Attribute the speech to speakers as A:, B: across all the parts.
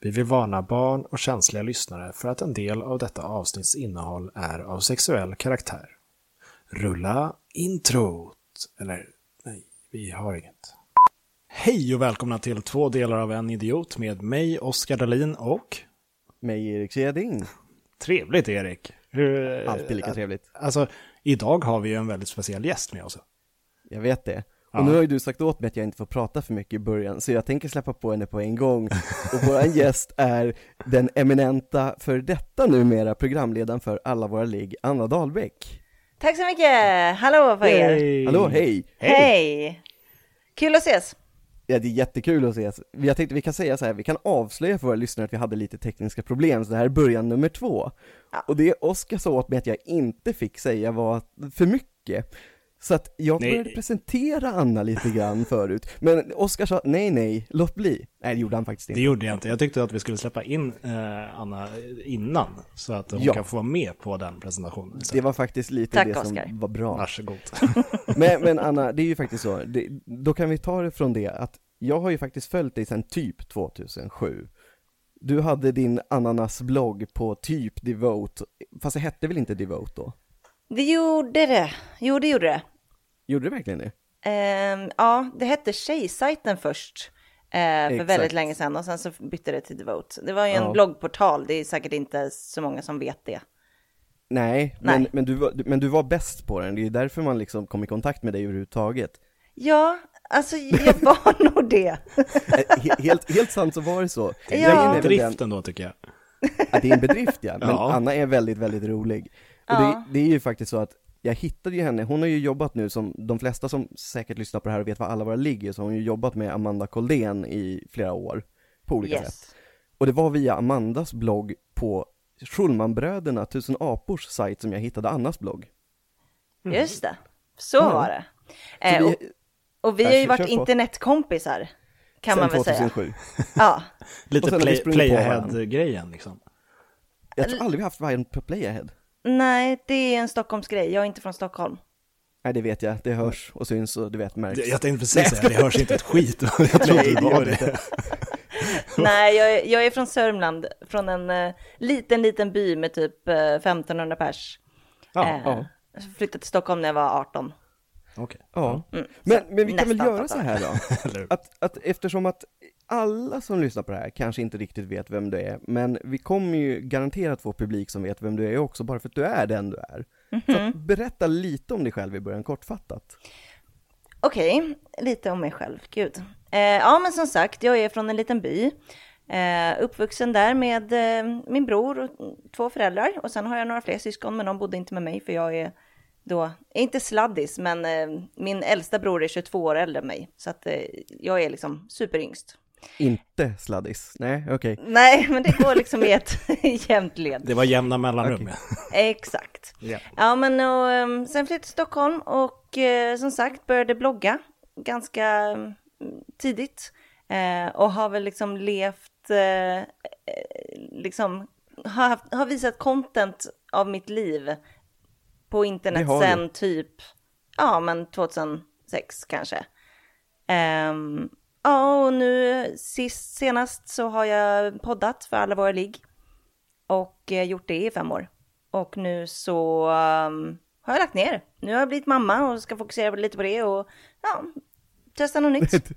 A: Vi vill varna barn och känsliga lyssnare för att en del av detta avsnitts innehåll är av sexuell karaktär. Rulla introt! Eller, nej, vi har inget. Hej och välkomna till två delar av En idiot med mig, Oskar Dahlin och...
B: Mig Erik Seding.
A: Trevligt Erik! Hur...
B: Alltid lika trevligt.
A: Alltså, idag har vi ju en väldigt speciell gäst med oss.
B: Jag vet det.
A: Ja.
B: Och nu har ju du sagt åt mig att jag inte får prata för mycket i början, så jag tänker släppa på henne på en gång. Och våran gäst är den eminenta, för detta numera, programledaren för Alla Våra Ligg, Anna Dahlbäck.
C: Tack så mycket! Hallå på er!
B: Hallå, hej!
C: Hej! Kul att ses!
B: Ja, det är jättekul att ses. Jag tänkte vi kan säga så här, vi kan avslöja för våra lyssnare att vi hade lite tekniska problem, så det här är början nummer två. Och det Oskar sa åt mig att jag inte fick säga var för mycket. Så att jag
A: Nej.
B: började presentera Anna lite grann förut, men Oskar sa nej, nej, låt bli. Nej, det gjorde han faktiskt
A: Det
B: inte.
A: gjorde jag inte. Jag tyckte att vi skulle släppa in eh, Anna innan så att hon
B: Ja.
A: kan få vara med på den presentationen. Så,
B: Det var faktiskt lite
C: Tack,
B: det som
C: Oskar.
B: var bra.
A: Varsågod.
B: Men, men Anna, det är ju faktiskt så, det, då kan vi ta det från det att jag har ju faktiskt följt dig sedan typ 2007. Du hade din ananasblogg på typ Devote, fast det hette väl inte Devote då?
C: Det gjorde det. Jo, det gjorde det.
B: Gjorde det verkligen det?
C: Ehm, ja, det hette Tjejsajten först eh, för
B: Exakt.
C: väldigt länge sedan och sen så bytte det till Devote. Det var ju en
B: Ja.
C: bloggportal, det är säkert inte så många som vet det.
B: Nej, Men,
C: Nej.
B: men, du var, du- men du var bäst på den, det är ju därför man liksom kom i kontakt med dig överhuvudtaget.
C: Ja, alltså jag var nog det.
B: Eh, he- helt, helt sant så var det så.
C: är
A: Det
C: Ja.
A: var
B: Grejen
A: en
B: är väl den-
A: drift ändå tycker jag.
B: Ja, det är en bedrift ja, men
A: Ja.
B: Anna är väldigt, väldigt rolig. Och
C: Ja.
B: det, det är ju faktiskt så att jag hittade ju henne, hon har ju jobbat nu som, de flesta som säkert lyssnar på det här och vet var alla våra ligger, så har hon ju jobbat med Amanda Koldén i flera år, på olika sätt.
C: Yes.
B: Och det var via Amandas blogg på Schulmanbröderna, Tusen apors sajt, som jag hittade Annas blogg.
C: Just det, så
B: Ja.
C: var det.
B: Så
C: Eh, och,
B: vi-
C: och vi
B: Ja,
C: har ju
B: kör-
C: varit
B: kör på.
C: internetkompisar, kan
B: sen
C: man väl säga.
B: 2007.
C: Ja.
B: Och
A: Lite
B: sen har vi
A: play,
B: sprungit på
A: playahead-grejen liksom.
B: Jag tror aldrig vi haft varje på Playahead.
C: Nej, det är en Stockholmsgrej. Jag är inte från Stockholm.
B: Nej det vet jag, det hörs och syns och du vet märks.
A: Det- Jag tänkte precis säga, det hörs inte ett skit. Jag trodde det
B: Nej, det
A: var
B: gör
A: det.
C: Nej, jag är, jag är från Sörmland, från en eh, liten, liten by med typ eh, 1500 pers.
A: Ja,
C: Eh,
B: ja.
C: Flyttade till Stockholm när jag var 18.
A: okej.
B: Ja, men, men vi kan väl
C: nästan
B: göra så
C: fattar.
B: här då?
A: Eller-
B: att, att eftersom att alla som lyssnar på det här kanske inte riktigt vet vem du är, men vi kommer ju garanterat få publik som vet vem du är också, bara för att du är den du är. Så att berätta lite om dig själv i början, kortfattat.
C: Okej, lite om mig själv. Gud. Eh, ja, men som sagt, jag är från en liten by. Eh, uppvuxen där med eh, min bror och två föräldrar. Och sen har jag några fler syskon, men de bodde inte med mig för jag är då, inte sladdis, men eh, min äldsta bror är 22 år äldre än mig. Så att eh, jag är liksom superyngst.
B: Inte sladdis, nej okej.
C: Nej, men det går liksom i ett jämnt led.
A: Det var jämna mellanrum. ja.
C: Exakt.
A: Ja.
C: Ja, men och, ehm, sen flyttade till Stockholm och eh, som sagt började blogga ganska mm, tidigt. Eh, och har väl liksom levt, eh, eh, liksom, har, haft, har visat content av mitt liv på internet
B: Det har du.
C: sen typ, ja men 2006 kanske. Ehm, ja, och nu sist, senast så har jag poddat för alla våra ligg och eh, gjort det i fem år. Och nu så ehm, har jag lagt ner. Nu har jag blivit mamma och ska fokusera lite på det och ja, testa något nytt.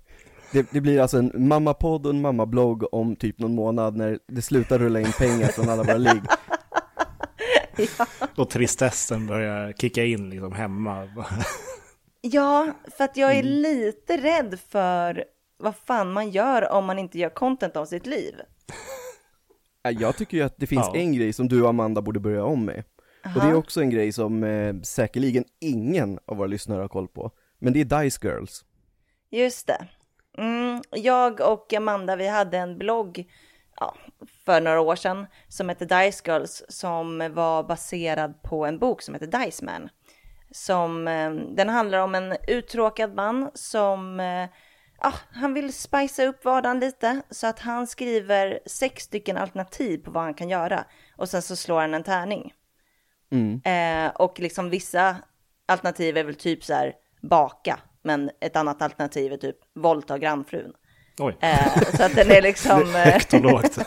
B: Det, det blir alltså en mammapodd och en mammablogg om typ någon månad när det slutar rulla in pengar från alla våra ligg.
A: Och tristessen börjar kicka in liksom hemma.
C: Ja, för att jag är lite rädd för vad fan man gör om man inte gör content om sitt liv.
B: Ja, Äh, Jag tycker ju att det finns
A: Ja.
B: en grej som du och Amanda borde börja om med. Och det är också en grej som eh, säkerligen ingen av våra lyssnare har koll på. Men det är Dice Girls.
C: Just det. Mm, jag och Amanda, vi hade en blogg ja, för några år sedan som hette Dice Girls som var baserad på en bok som hette Dice Man. Som, eh, den handlar om en uttråkad man som eh, ja, han vill spicea upp vardagen lite så att han skriver sex stycken alternativ på vad han kan göra och sen så slår han en tärning.
B: Mm.
C: Eh, och liksom vissa alternativ är väl typ så här baka, men ett annat alternativ är typ våldta grannfrun.
A: Oj,
C: Eh, så att den är liksom... eh,
A: högt och lågt.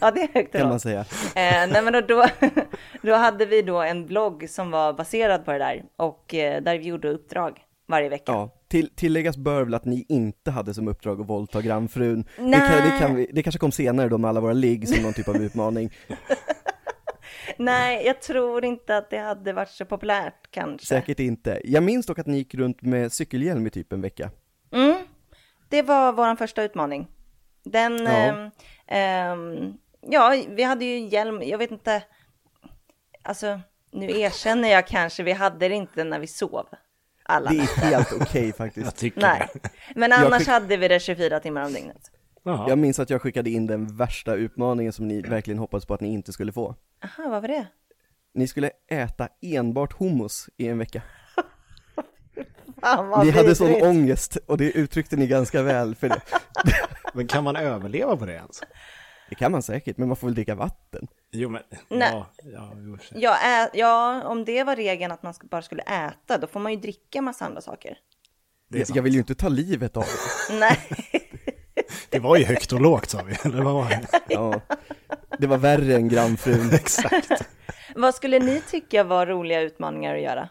C: ja, det är högt och
B: kan
C: lågt.
B: man säga.
C: Eh, nej men då, då, då hade vi då en blogg som var baserad på det där och eh, där vi gjorde uppdrag varje vecka.
B: Ja, till, tilläggas bör väl att ni inte hade som uppdrag att våldta grannfrun. Det,
C: Nej.
B: kan, det, kan vi, det kanske kom senare då med alla våra ligg som någon typ av utmaning.
C: Nej, jag tror inte att det hade varit så populärt kanske.
B: Säkert inte. Jag minns dock att ni gick runt med cykelhjälm i typ en vecka.
C: Mm. Det var vår första utmaning. Den,
B: Ja.
C: ehm, ehm, ja, vi hade ju hjälm, jag vet inte, alltså nu erkänner jag kanske, vi hade det inte när vi sov. Alla.
B: Det är helt okej faktiskt.
A: Jag tycker
C: Nej,
A: det.
C: men annars
B: skick-
C: hade vi det 24 timmar om dygnet.
A: Jaha.
B: Jag minns att jag skickade in den värsta utmaningen som ni verkligen hoppades på att ni inte skulle få.
C: Aha, vad var det?
B: Ni skulle äta enbart hummus i en vecka.
C: Fan, vad
B: ni hade sån
C: vidrigt.
B: ångest och det uttryckte ni ganska väl för det.
A: Men kan man överleva på det ens?
B: Det kan man säkert, men man får väl dricka vatten.
A: Jo, men...
C: Nej.
A: Ja, ja, jo, ursäkta.
C: Ja, ä- ja, om det var regeln att man sk- bara skulle äta, då får man ju dricka massa andra saker.
A: det, är sant.
B: jag vill ju inte ta livet av er.
C: Nej,
A: det var ju högt och lågt sa vi. Eller vad var det?
B: Ja. Det var värre än grannfrun.
A: Exakt.
C: vad skulle ni tycka var roliga utmaningar att göra?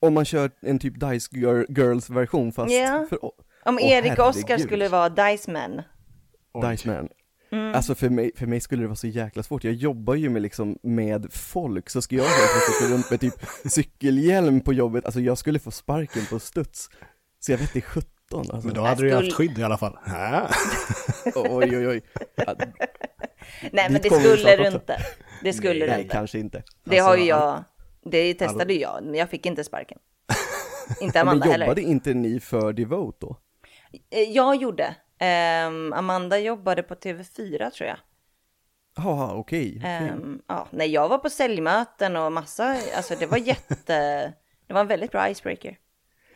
B: Om man kör en typ Dice Girl- Girls-version fast
C: Ja.
B: för å-
C: Om
B: Åh,
C: Erik och Oskar
B: herregud.
C: skulle vara Mm. Dice Man.
A: Oj.
B: Dice Man. Alltså för mig, för mig skulle det vara så jäkla svårt, jag jobbar ju med liksom med folk, så ska jag helt plötsligt gå runt med typ cykelhjälm på jobbet, alltså jag skulle få sparken på studs. Så jag vet inte sjutton alltså.
A: Men då hade du ju
C: Jag
A: haft
C: skulle-
A: skydd i alla fall. Ja.
B: Oj oj oj. Ja,
C: Nej, men
B: Dit
C: det
B: kommer vi
C: skulle
B: snart
C: du
B: också.
C: inte. Det skulle du
B: Nej,
C: inte.
B: kanske inte.
C: Det har ju
A: Alltså,
C: jag, det testade ju jag, men jag fick inte sparken. Inte
B: Men
C: Amanda heller.
B: jobbade inte ni för Devote då?
C: Eh, Jag gjorde. Ehm, Amanda jobbade på TV4 tror jag.
B: Jaha, okej. okej.
C: Ehm, ja, nej, jag var på säljmöten och massa, alltså det var jätte, det var en väldigt bra icebreaker.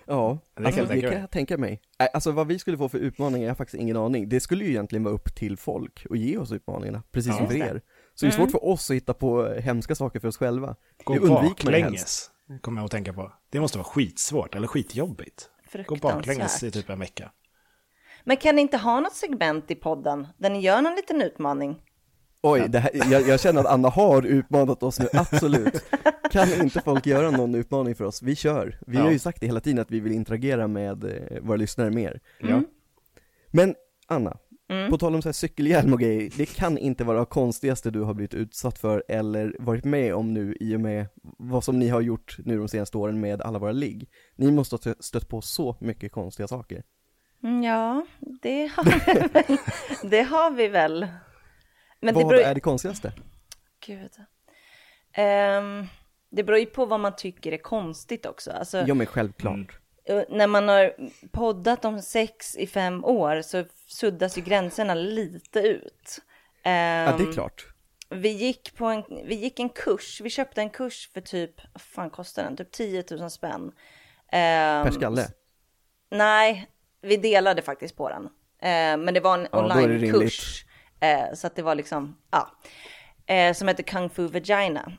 B: Ja,
A: Det
B: alltså,
A: kan jag tänka
B: det kan
A: mig.
B: jag tänka mig. Nej, Alltså vad vi skulle få för utmaningar, jag har faktiskt ingen aning. Det skulle ju egentligen vara upp till folk och ge oss utmaningarna, precis som för er. Så det
C: Mm.
B: är svårt för oss att hitta på hemska saker för oss själva.
A: Gå
B: det undviker man ju helst.
A: baklänges, kommer jag att tänka på. Det måste vara skitsvårt, eller skitjobbigt. Gå
C: Fruktansvärt.
A: baklänges i typ en vecka.
C: Men kan ni inte ha något segment i podden där ni gör någon liten utmaning?
B: Oj, det här, jag, jag känner att Anna har utmanat oss nu, absolut. Kan inte folk göra någon utmaning för oss? Vi kör. Vi
A: Ja.
B: har ju sagt det hela tiden att vi vill interagera med eh, våra lyssnare mer.
A: Ja.
C: Mm.
B: Men Anna, på tal om så här cykelhjälm och grejer, det kan inte vara det konstigaste du har blivit utsatt för eller varit med om nu i och med vad som ni har gjort nu de senaste åren med alla våra ligg. Ni måste ha stö- stött på så mycket konstiga saker.
C: Mm, Ja, det har vi väl. Det har vi väl. Men
B: vad
C: det beror...
B: är det konstigaste?
C: Gud. Ehm, det beror ju på vad man tycker är konstigt också. Alltså,
B: Ja men självklart.
C: eh, När man har poddat om sex i fem år så suddas ju gränserna lite ut. Ehm,
B: Ja det är klart.
C: vi gick på en, vi gick en kurs, vi köpte en kurs för typ, vad fan kostade den? Typ 10 000 spänn. Ehm,
B: Per skalle.
C: Nej, vi delade faktiskt på den. Eh, men det var en
B: Ja, då är det
C: onlinekurs. Eh, så att det var liksom, ja. Eh, som heter Kung Fu Vagina.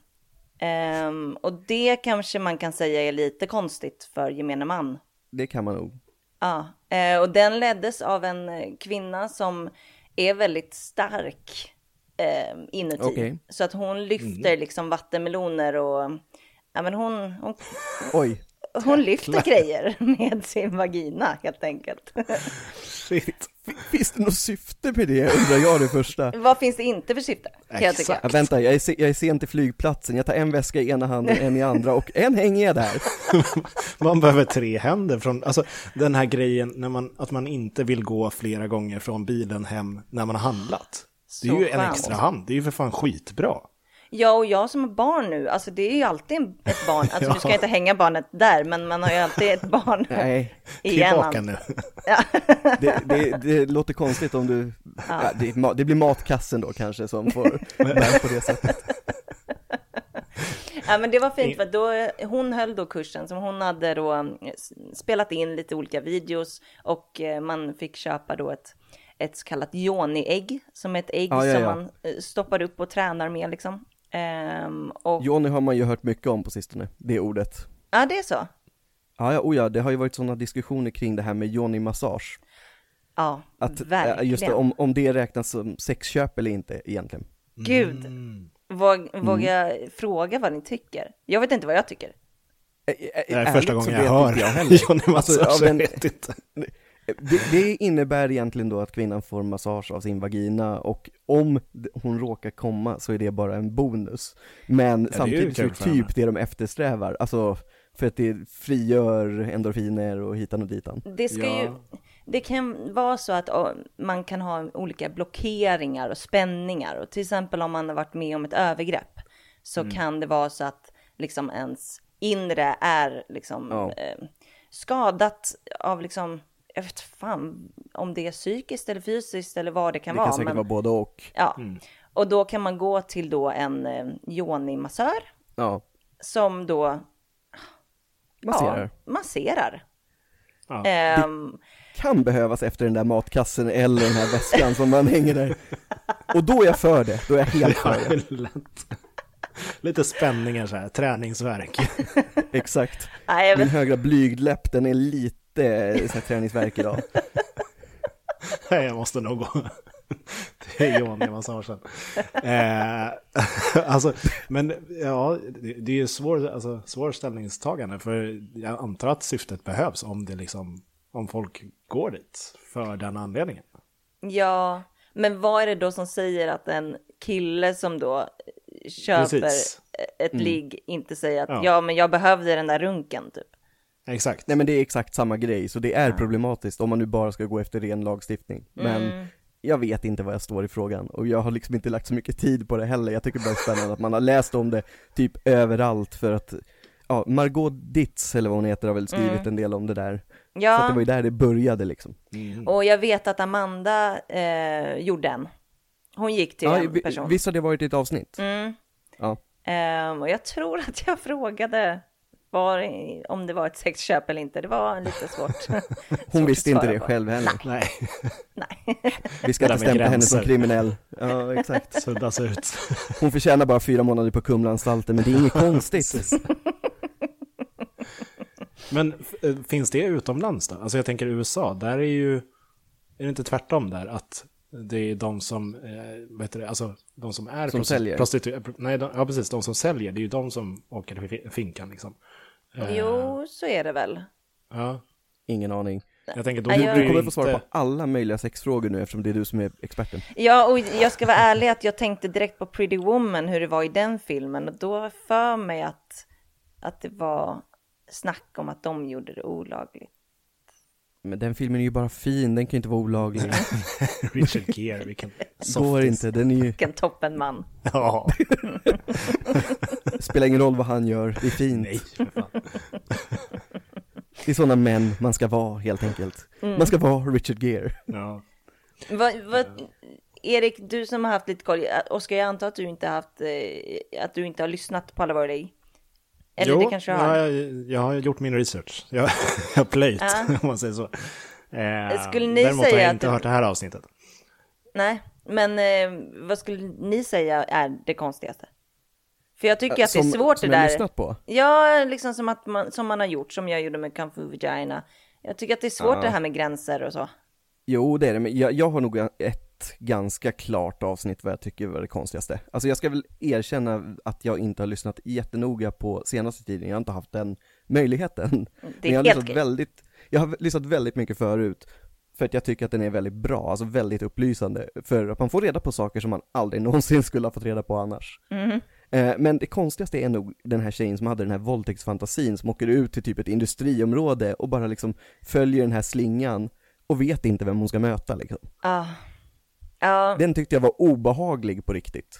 C: Ehm, och det kanske man kan säga är lite konstigt för gemene man.
B: Det kan man nog.
C: Ja, eh, och den leddes av en eh, kvinna som är väldigt stark eh, inuti.
B: Okej. Mm.
C: Så att hon lyfter liksom vattenmeloner och, ja men hon, hon,
B: Oj,
C: hon lyfter grejer med sin vagina helt enkelt.
A: Shit.
B: finns det något syfte med det undrar jag det första.
C: Vad finns det inte för syfte? Kan jag tycka.
B: Ja, vänta, jag är, se- jag är sen till flygplatsen, jag tar en väska i ena handen, en i andra och en hänged här.
A: Man behöver tre händer från, alltså den här grejen när man, att man inte vill gå flera gånger från bilen hem när man har handlat. Det är
C: Så
A: ju en
C: skönt.
A: extra hand, det är ju för fan skitbra.
C: Ja, och jag som har barn nu, alltså det är ju alltid en- ett barn. Alltså nu ska
A: Ja.
C: jag inte hänga barnet där, men man har ju alltid ett barn alltså.
B: Nej.
C: i
A: Tillbaka
C: hjärnan.
A: nu.
B: Det, det, det låter konstigt om du, ja, det, är ma- det blir matkassen då kanske som får bära på det sättet.
C: Ja, men det var fint för att då, hon höll då kursen som hon hade då mm, s- spelat in lite olika videos och eh, man fick köpa då ett, ett så kallat Joni-ägg som är ett ägg
B: Ja, ja,
C: som
B: ja.
C: man eh, stoppar upp och tränar med liksom. Ehm, och,
B: Johnny har man ju hört mycket om på sistone, det ordet.
C: ja, det är så.
B: Ja, ja, oh ja, det har ju varit sådana diskussioner kring det här med Johnny massage.
C: Ja,
B: Att, eh,
C: verkligen.
B: just det, om, om det räknas som sexköp eller inte egentligen.
C: Gud,
B: Mm.
C: våg, vågar jag fråga vad ni tycker? Jag vet inte vad jag tycker.
A: Det är första gången jag hör Johnny Massage,
B: Alltså, ja, men-
A: jag vet inte.
B: Det, det innebär egentligen då att kvinnan får massage av sin vagina och om d- hon råkar komma så är det bara en bonus. Men
A: ju
B: samtidigt så
A: kul
B: är det
A: för henne.
B: typ det de eftersträvar, alltså för att det frigör endorfiner och hitan och ditan.
C: Det ska
A: Ja.
C: ju... Det kan vara så att ja, man kan ha olika blockeringar och spänningar. Och till exempel om man har varit med om ett övergrepp så
B: Mm.
C: kan det vara så att liksom ens inre är liksom
B: Ja.
C: eh, skadat av liksom, jag vet fan om det är psykiskt eller fysiskt eller vad det kan
B: Det
C: vara.
B: kan säkert
C: men-
B: vara Mm. både och.
C: Ja, och då kan man gå till då en eh, yoni-massör
B: Ja,
C: som då
B: masserar.
C: Ja, masserar.
A: Ja.
C: Ehm,
B: Kan behövas efter den där matkassen eller den här väskan som man hänger där. Och då är jag för det, då är jag helt för det.
A: Lätt. Lite spänningar så här, träningsverk.
B: Exakt.
C: nej, jag
B: Min
C: vet,
B: högra blygdläpp, den är lite eh, så här, träningsvärk idag.
A: Nej, jag måste nog gå till Johnny-massagen. Eh, alltså, men ja, det, det är ju svår, alltså, svår ställningstagande, för jag antar att syftet behövs om det liksom, om folk går dit för den anledningen.
B: Mm.
C: ja, men vad är det då som säger att en kille som då eh, köper
A: Precis.
C: ett
B: Mm.
C: ligg inte säger att
A: Ja.
C: ja. men jag behövde den där runken typ.
A: Exakt.
B: Nej men det är exakt samma grej, så det är problematiskt om man nu bara ska gå efter ren lagstiftning. Men
C: Mm.
B: jag vet inte vad jag står i frågan och jag har liksom inte lagt så mycket tid på det heller. Jag tycker bara det är spännande att man har läst om det typ överallt för att, ja, Margot Ditz eller vad hon heter har väl skrivit en del om det där. Så att det var
C: Mm. Ja,
B: ju där det började liksom.
C: och jag vet att Amanda eh, gjorde en. Hon gick till
B: Ja,
C: en
B: vi-
C: person. Mm.
B: visst har det varit i ett avsnitt? Ja.
C: Ehm, och jag tror att jag frågade var, om det var ett sexköp eller inte. Det var lite svårt.
B: Hon visste inte
C: svara
B: det
C: på.
B: själv heller.
A: Nej,
B: Vi
A: Det där
B: ska inte
A: med
B: stämpla henne som
A: gränser.
B: kriminell. Ja, exakt.
A: suddas ut.
B: Hon förtjänar bara fyra månader på Kumlaanstalten, men det är inget konstigt.
A: Men f- eh, finns det utomlands då? Alltså jag tänker USA, där är ju, är det inte tvärtom där? Att det är de som, eh, vad heter det, alltså de som är
B: Som säljer.
A: prostituerade, nej, de, ja precis, de som säljer, det är ju de som åker till fi- finkan liksom. Eh,
C: Jo, så är det väl.
A: Ja,
B: Ingen aning.
A: jag tänker då
C: Nej,
A: borde
C: jag-
A: det
B: Du
A: ju
B: kommer få svara
A: inte-
B: på alla möjliga sexfrågor nu eftersom det är du som är experten.
C: Ja, och jag ska vara ärlig att jag tänkte direkt på Pretty Woman, hur det var i den filmen. Och då har jag för mig att, att det var snack om att de gjorde det olagligt.
B: Men den filmen är ju bara fin, den kan ju inte vara olaglig.
A: Richard Gere, vilken
B: Går
A: softis.
B: inte, den är ju,
C: Vilken toppen man.
A: Ja,
B: spelar ingen roll vad han gör, det är fint.
A: nej, för fan.
B: Det är sådana män man ska vara helt enkelt.
C: Mm.
B: Man ska vara Richard Gere.
A: Ja.
C: Vad, vad, Erik, du som har haft lite koll, Oskar, jag antar att du inte har haft, eh, att du inte har lyssnat på alla våra ligg. Eller
A: jo,
C: det kanske du har.
A: Jag, jag har gjort min research. Jag jag har plöjt, om man säger så. Eh,
C: Skulle ni
A: däremot har
C: säga
A: jag
C: att
A: inte
C: det-
A: hört det här avsnittet.
C: Nej, men eh, vad skulle ni säga är det konstigaste? För jag tycker att det är
B: Som-
C: svårt
B: som
C: det
B: jag har
C: där.
B: lyssnat på.
C: Ja, liksom som, att man, som man har gjort, som jag gjorde med Kung Fu Vagina. Jag tycker att det är svårt det här med gränser och så.
B: Jo det är det, men jag, jag har nog ett ganska klart avsnitt vad jag tycker var det konstigaste. Alltså jag ska väl erkänna att jag inte har lyssnat jättenoga på senaste tiden, jag har inte haft den möjligheten. men jag har,
C: helt
B: lyssnat
C: okej.
B: väldigt, jag har lyssnat väldigt mycket förut, för att jag tycker att den är väldigt bra, alltså väldigt upplysande. För att man får reda på saker som man aldrig någonsin skulle ha fått reda på annars. Eh, Men det konstigaste är nog den här tjejen som hade den här våldtäktsfantasin som åker ut till typ ett industriområde och bara liksom följer den här slingan och vet inte vem hon ska möta liksom.
C: Ja, ja,
B: Den tyckte jag var obehaglig på riktigt.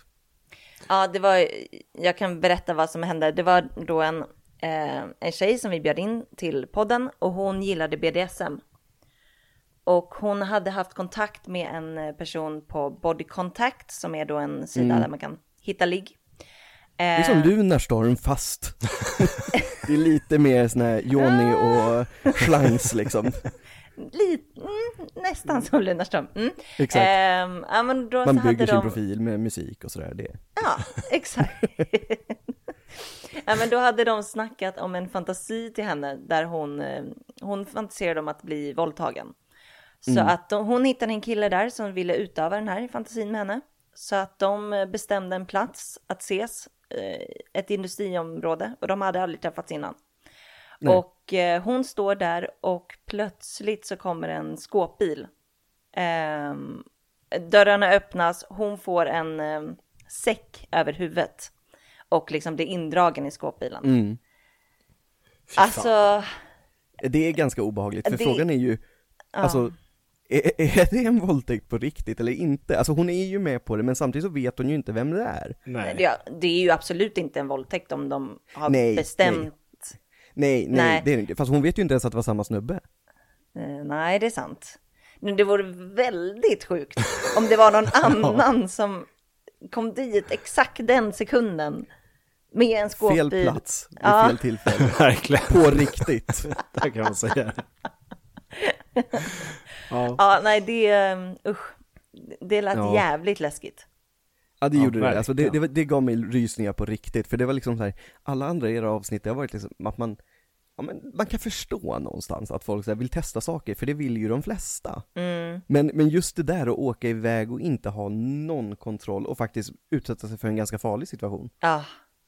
C: ja, det var, jag kan berätta vad som hände. Det var då en, eh, en tjej som vi bjöd in till podden och hon gillade BDSM. Och hon hade haft kontakt med en eh, person på Body Contact som är då en sida där man kan hitta ligg.
B: Mm.
C: Eh,
B: Det är som Lunarstorm fast. det är lite mer sån här Johnny och Schlangs liksom.
C: Lite, mm, nästan som Lunarstorm. Mm.
B: Exakt.
C: Ehm, ja, men då
B: Man
C: så hade
B: bygger sin
C: de,
B: profil med musik och sådär. Det.
C: Ja, exakt. ja, men då hade de snackat om en fantasi till henne där hon, eh, hon fantiserade om att bli våldtagen. Så att de, hon hittade en kille där som ville utöva den här fantasin med henne. Så att de eh, bestämde en plats att ses, eh, ett industriområde, och de hade aldrig träffats innan. Och eh, hon står där och plötsligt så kommer en skåpbil. Ehm, dörrarna öppnas, hon får en ehm, säck över huvudet och liksom blir indragen i skåpbilen.
B: Mm.
A: Fy fan.
C: Alltså,
B: Det är ganska obehagligt, för
C: Det-
B: frågan är ju, alltså, är, är det en våldtäkt på riktigt eller inte? Alltså hon är ju med på det, men samtidigt så vet hon ju inte vem det är.
A: Nej.
C: ja, det är ju absolut inte en våldtäkt om de har
B: Nej,
C: bestämt.
B: Nej, nej,
C: Nej.
B: det är det inte. Fast hon vet ju inte ens att det var samma snubbe.
C: Nej. Eh, nej, det är sant. Men det vore väldigt sjukt om det var någon annan som kom dit exakt den sekunden med en skåpbil.
B: Fel plats, vid
C: Ja.
B: fel tillfälle.
A: Verkligen,
B: På riktigt.
A: det kan man säga. Mm, Ja,
C: Ja, nej, det, ehm, usch, det lät
B: Ja.
C: jävligt läskigt.
B: Ja det
A: Ja,
B: gjorde det, alltså det, det,
A: verkligen.
B: var- det gav mig rysningar på riktigt, för det var liksom så här, alla andra era avsnitt, det har varit liksom att man, ja, men man kan förstå någonstans att folk så här vill testa saker, för det vill ju de flesta. Men, men just det där att åka iväg och inte ha någon kontroll och faktiskt utsätta sig för en ganska farlig situation.
C: Ja,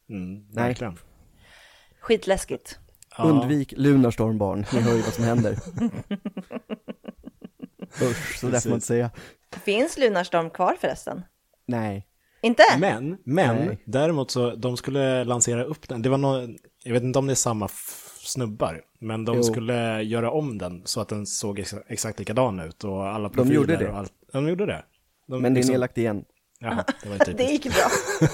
A: mm, verkligen.
C: skitläskigt.
A: Ja.
B: Undvik Lunarstormbarn, ni hör ju vad som händer. Usch, så där får man inte säga.
C: Finns Lunarstorm kvar förresten?
B: Nej.
C: Inte?
A: Men, men
B: Nej.
A: däremot så, de skulle lansera upp den. Det var någon, jag vet inte om det är samma f- snubbar, men de
B: Jo.
A: skulle göra om den så att den såg ex- exakt likadan ut och alla profiler
B: gjorde det.
A: och allt. De gjorde det. De,
B: Men det är
A: liksom-
B: nedlagt igen.
A: Jaha, det var ju typ-
C: Det
A: typiskt.
C: gick bra.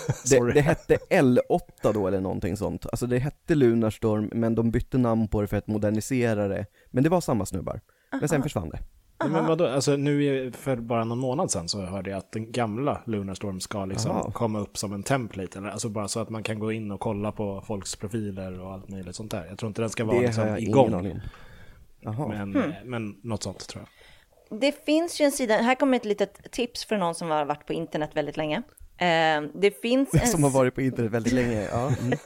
B: Det,
A: Sorry.
B: det hette L8 då eller någonting sånt, alltså det hette Lunarstorm men de bytte namn på det för att modernisera det, men det var samma snubbar. Men sen försvann det.
A: Nej, Men vadå, alltså nu är- för bara någon månad sedan så hörde jag att den gamla Lunarstorm ska liksom
B: Jaha.
A: komma upp som en template, eller alltså bara så att man kan gå in och kolla på folks profiler och allt möjligt sånt där. Jag tror inte den ska vara
B: det har
A: liksom
B: jag ingen
A: igång,
B: aning om. Jaha.
A: men,
C: Mm.
A: eh, men något sånt tror jag.
C: Det finns ju en sida, här kommer ett litet tips för någon som har varit på internet väldigt länge. Eh, det finns en...
B: Som har varit på internet väldigt länge, ja. Mm.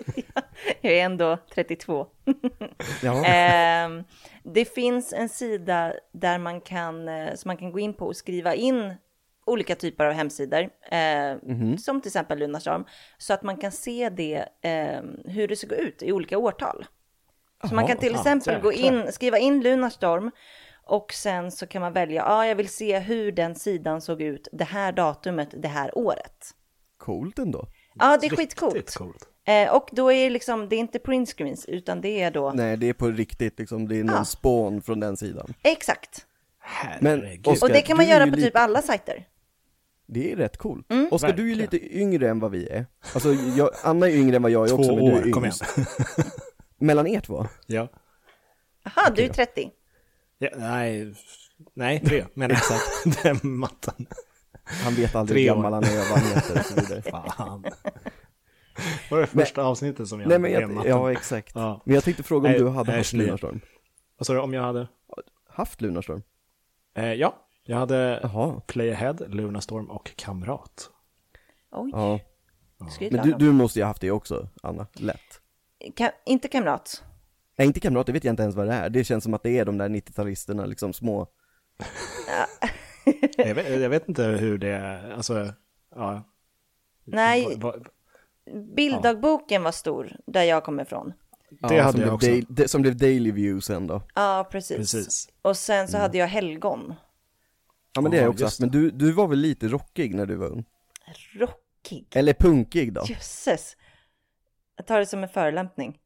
C: Jag är ändå 32.
B: ja.
C: Ehm, det finns en sida där man kan, eh, som man kan gå in på och skriva in olika typer av hemsidor, eh,
A: Mhm.
C: som till exempel Lunarstorm, så att man kan se det, eh, hur det såg ut i olika årtal. Så man kan till
A: ja,
C: exempel gå
A: jäklar.
C: in, skriva in Lunarstorm och sen så kan man välja, ja, ah, jag vill se hur den sidan såg ut det här datumet, det här året.
B: Coolt ändå.
C: Ja, det är
A: Riktigt
C: skitcoolt.
A: coolt.
C: Eh, och då är det liksom, det är inte printscreens, utan det är då,
B: Nej, det är på riktigt liksom, det är någon
C: Ja.
B: spån från den sidan.
C: exakt.
B: Men
A: Herregud.
B: Oskar,
C: Och det kan man
B: du är
C: göra
B: ju
C: på typ
B: lite-
C: alla sajter.
B: Det är rätt coolt. Oskar, du är ju
A: Verkligen.
B: lite yngre än vad vi är. Alltså, jag, Anna är yngre än vad jag är
A: Två
B: också, men du är
A: år,
B: yngst.
A: kom igen.
B: Mellan er två?
A: ja.
C: Aha, du är 30.
A: Ja, nej, nej, tre men exakt. Den matten.
B: Han vet aldrig
A: Tre
B: hur
A: år.
B: gammal han är och vad han heter och så vidare.
A: Fan. Var det första avsnittet som jag
B: Nej men
A: hade den
B: jag,
A: matten?
B: ja exakt.
A: Ja.
B: Men jag tänkte fråga om
A: Nej,
B: du hade
A: nej,
B: haft
A: nej.
B: Lunarstorm?
A: Vad sa du, om jag hade?
B: Haft Lunarstorm?
A: Eh, ja, jag hade
B: Jaha.
A: Play Ahead, Lunarstorm och Kamrat.
C: Oj,
B: Ja.
C: skryt
B: Men
C: av
B: du,
C: dem.
B: du måste ju ha haft det också, Anna. Lätt.
C: Ka- Inte kamrat.
B: Nej inte kamrat, det vet jag inte ens vad det är. Det känns som att det är de där 90-talisterna liksom små.
A: Jag vet, jag vet inte hur det, alltså, ja.
C: Nej,
A: Va, va,
C: bilddagboken var stor där jag kommer ifrån.
A: det
B: Ja,
A: hade
B: som
A: jag
B: blev
A: också.
B: Dai- det- som blev Daily View sen då.
C: Ja, precis.
A: Precis.
C: Och sen
B: Mm.
C: så hade jag helgon.
B: Ja men det har jag
A: Ja,
B: också
A: just
B: haft, men du, du var väl lite rockig när du var ung?
C: Rockig.
B: Eller punkig då?
C: Jösses. Jag tar det som en förolämpning.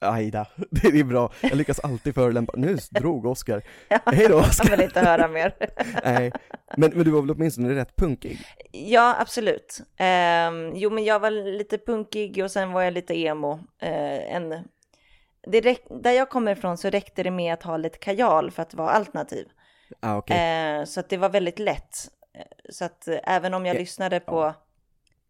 B: Ajda, det är bra. Jag lyckas alltid förolämpa. Nu drog Oskar. Hej då
C: Jag vill
B: Oskar.
C: inte höra mer.
B: Nej, men, men du var väl åtminstone rätt punkig?
C: Ja, absolut. Ehm, jo, men jag var lite punkig och sen var jag lite emo. Eh, en, det räck, där jag kommer ifrån så räckte det med att ha lite kajal för att vara alternativ.
B: Ah, okej.
C: Eh, så att det var väldigt lätt. Eh, Så att eh, även om jag lyssnade på,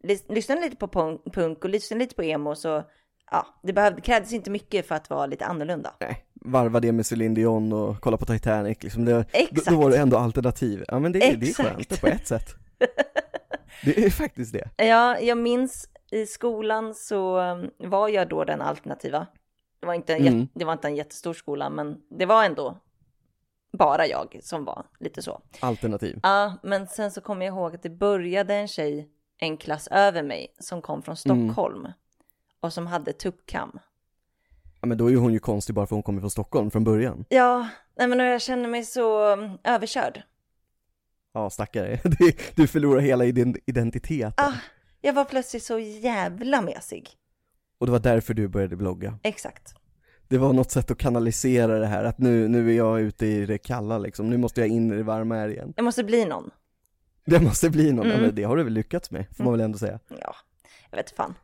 C: lys, lyssnade lite på punk, punk och lyssnade lite på emo så, ja, det behövde, krävdes inte mycket för att vara lite annorlunda.
B: Nej, varva det med Céline Dion och kolla på Titanic liksom. det, då,
C: Exakt.
B: då var det ändå alternativ. Ja men det, det är
C: Exakt.
B: skönt på ett sätt. Det är faktiskt det.
C: Ja, jag minns i skolan så um, var jag då
B: Mm.
C: den alternativa. Det var inte en, jät- det var inte en jättestor skola, men det var ändå bara jag som var lite så.
B: Alternativ.
C: Ja, men sen så kommer jag ihåg att det började en tjej en klass över mig som kom från Stockholm och som hade tuppkam.
B: Ja, men då är ju hon ju konstig bara för hon kommer från Stockholm från början.
C: Ja, nej men och jag känner mig så mm, överkörd.
B: Ja, stackare. Du, du förlorar hela ident- identiteten.
C: Ah, jag var plötsligt så jävla mesig.
B: Och det var därför du började blogga.
C: Exakt.
B: Det var något sätt att kanalisera det här, att nu, nu är jag ute i det kalla liksom, nu måste jag in i det varma här igen.
C: Jag måste bli någon.
B: Det måste bli någon,
C: Mm.
B: ja, men det har du väl lyckats med, får man väl ändå säga.
C: Ja, jag vet fan.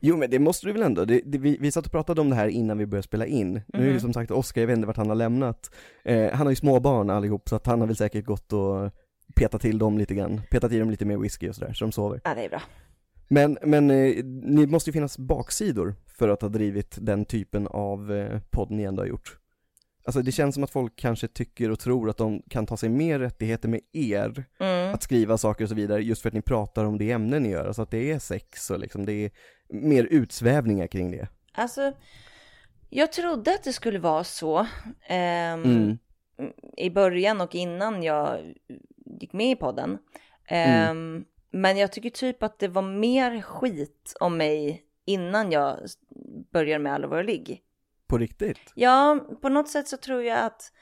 B: Jo men det måste du väl ändå, det, det, vi, vi satt och pratade om det här innan vi började spela in. Nu är
C: Mhm.
B: ju som sagt Oskar, jag vet inte vart han har lämnat. Eh, han har ju småbarn allihop, så att han har väl säkert gått och petat till dem lite grann, petat i dem lite mer whisky och sådär, så de sover.
C: Ja, det är bra.
B: Men, men eh, ni måste ju finnas baksidor för att ha drivit den typen av eh, podd ni ändå har gjort. Alltså det känns som att folk kanske tycker och tror att de kan ta sig mer rättigheter med er,
C: Mm.
B: att skriva saker och så vidare, just för att ni pratar om det ämne ni gör, alltså att det är sex och liksom det är mer utsvävningar kring det.
C: Alltså, jag trodde att det skulle vara så ehm,
B: Mm.
C: i början och innan jag gick med i podden. Ehm, Men jag tycker typ att det var mer skit om mig innan jag s- började med Allvar och ligg.
B: På riktigt?
C: Ja, på något sätt så tror jag att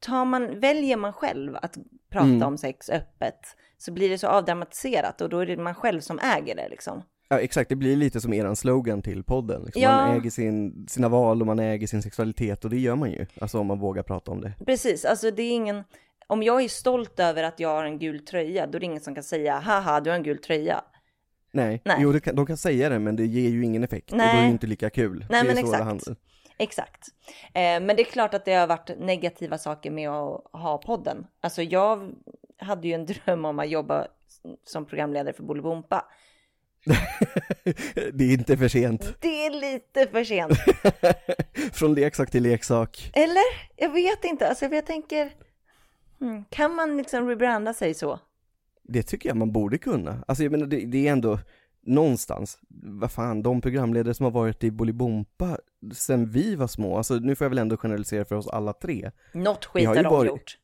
C: tar man, väljer man själv att prata
B: Mm.
C: om sex öppet så blir det så avdramatiserat och då är det man själv som äger det liksom.
B: Ja exakt, det blir lite som eran slogan till podden. Liksom.
C: Ja.
B: Man äger sin, sina val och man äger sin sexualitet och det gör man ju, alltså om man vågar prata om det.
C: Precis, alltså det är ingen... Om jag är stolt över att jag har en gul tröja, då är det ingen som kan säga haha, du har en gul tröja.
B: Nej,
C: Nej.
B: jo det kan, de kan säga det men det ger ju ingen effekt och då är
C: Nej.
B: det ju inte lika kul.
C: Nej,
B: det är
C: men
B: så det
C: exakt.
B: handlar.
C: Exakt. Eh, men det är klart att det har varit negativa saker med att ha podden. Alltså jag hade ju en dröm om att jobba som programledare för Bolibompa.
B: det är inte för sent.
C: Det är lite för sent. Mm.
B: Från leksak till leksak.
C: Eller? Jag vet inte. Alltså jag tänker, hmm, kan man liksom rebranda sig så?
B: Det tycker jag man borde kunna. Alltså jag menar det, det är ändå någonstans, vad fan, de programledare som har varit i Bolibompa sen vi var små, alltså nu får jag väl ändå generalisera för oss alla tre.
C: Något
B: Vi
C: skit
B: har ju
C: har de
B: varit-
C: gjort.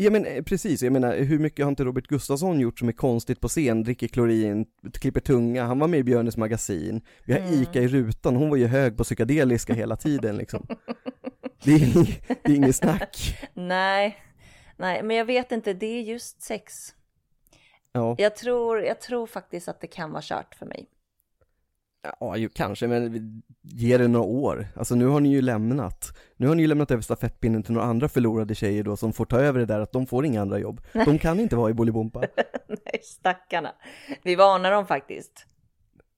B: Ja men eh, precis, jag menar hur mycket har inte Robert Gustafsson gjort som är konstigt på scen, dricker klorin, klipper tunga, han var med i Björnes magasin, vi har Ica i rutan, hon var ju hög på psykedeliska hela tiden liksom. Det är, ing- det är inget snack.
C: Nej, nej, men jag vet inte. Det är just sex.
B: Ja,
C: Jag tror, jag tror faktiskt att det kan vara kört för mig.
B: ja ju, kanske, men vi- ge det några år. Alltså nu har ni ju lämnat, nu har ni ju lämnat över stafettpinnen till några andra förlorade tjejer då som får ta över det där att de får inga andra jobb. De kan inte vara i Bolibompa.
C: Nej, stackarna. Vi varnar dem faktiskt.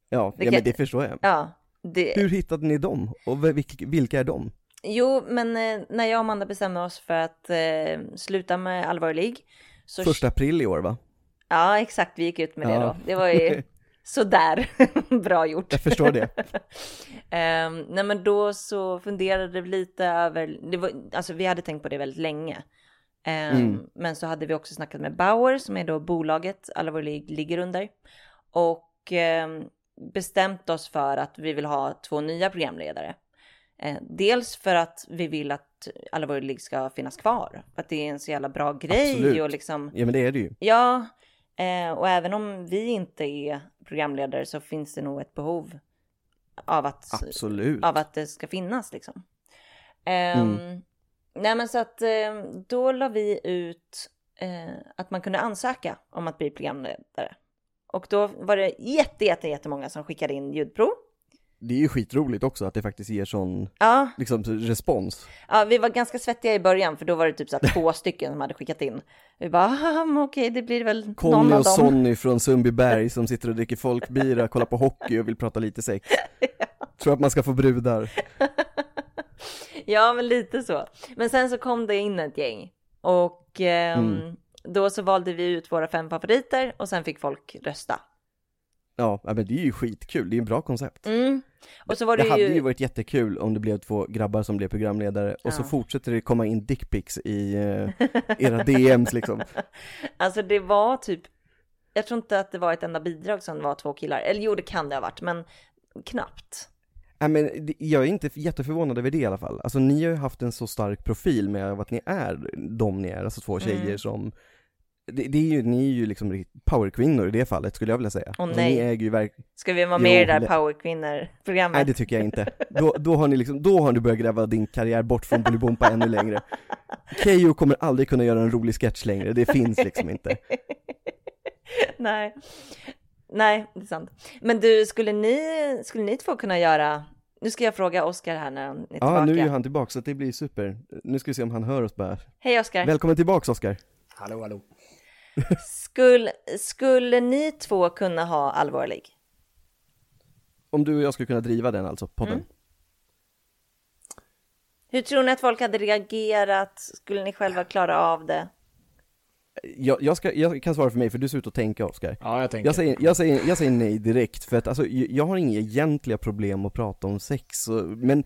B: Ja,
C: Det
B: ja
C: kan-
B: men det förstår jag.
C: Ja, det...
B: Hur hittade ni dem? Och vilka, vilka är de?
C: Jo, men eh, när jag och Amanda bestämde oss för att eh, sluta med allvarlig så...
B: Första april i år va?
C: Ja, exakt. Vi gick ut med det
B: Ja.
C: då. Det var ju sådär bra gjort.
B: Jag förstår det.
C: Ehm, nej men då så funderade vi lite över, det var, alltså vi hade tänkt på det väldigt länge. Ehm,
B: Mm.
C: Men så hade vi också snackat med Bauer som är då bolaget alla vår lig ligger under. Och ehm, bestämt oss för att vi vill ha två nya programledare. Eh, dels för att vi vill att alla vår ligg ska finnas kvar. För att det är en så jävla bra grej
B: Absolut.
C: och liksom
B: Ja men det är det ju.
C: Ja, eh, och även om vi inte är programledare så finns det nog ett behov av att,
B: Absolut.
C: av att det ska finnas liksom. Ehm,
B: Mm.
C: Nej men så att eh, då la vi ut eh, att man kunde ansöka om att bli programledare. Och då var det jätte, jätte, jättemånga som skickade in ljudprov.
B: Det är ju skitroligt också att det faktiskt ger sån
C: Ja,
B: liksom, respons.
C: Ja, vi var ganska svettiga i början för då var det typ så här två stycken som hade skickat in. Vi bara, "Haha, men okej, det blir väl någon
B: Conny
C: av
B: och
C: dem.
B: Sonny från Sundbyberg som sitter och dricker folkbira, kollar på hockey och vill prata lite sex. Tror att man ska få brudar.
C: Ja, men lite så. Men sen så kom det in ett gäng och ehm,
B: Mm.
C: då så valde vi ut våra fem favoriter och sen fick folk rösta.
B: Ja, ja, men det är ju skitkul, det är ju ett bra koncept.
C: Mm. Och så var det,
B: Det hade
C: ju...
B: ju varit jättekul om det blev två grabbar som blev programledare och så
C: Ja.
B: fortsätter det komma in dickpics i eh, era DMs liksom.
C: Alltså det var typ... Jag tror inte att det var ett enda bidrag som var två killar. Eller jo, det kan det ha varit, men knappt.
B: Nej men det- jag är inte jätteförvånad över det i alla fall. Alltså ni har ju haft en så stark profil med att ni är de ni är, alltså
C: Mm.
B: två tjejer som det, det är ju, ni är ju liksom riktigt powerkvinnor i det fallet skulle jag vilja säga.
C: Åh,
B: Alltså,
C: nej.
B: Ni äger ju verkligen,
C: Ska vi vara
B: Jo,
C: med i det där
B: le- nej
C: powerkvinnor-programmet?
B: det tycker jag inte. Då, då har ni liksom, då har du börjat gräva din karriär bort från Bolibompa ännu längre. Keyyo kommer aldrig kunna göra en rolig sketch längre, det finns liksom inte.
C: Nej. Nej, det är sant. Men du, skulle ni, skulle ni två kunna göra... Nu ska jag fråga Oskar här när han är tillbaka.
B: Ja, nu är ju han tillbaka så det blir super. Nu ska vi se om han hör oss bara.
C: Hej Oskar!
B: Välkommen tillbaks Oskar.
A: Hallå, hallå.
C: Skulle, skulle ni två kunna ha allvarlig?
B: Om du och jag skulle kunna driva den alltså, podden.
C: Hur tror ni att folk hade reagerat? Skulle ni själva klara av det?
B: Jag, jag, ska, jag kan svara för mig för du ser ut att tänka Oskar.
A: Ja, jag tänker.
B: Jag säger, jag, säger, jag säger nej direkt för att alltså, j- jag har inga egentliga problem att prata om sex, och, men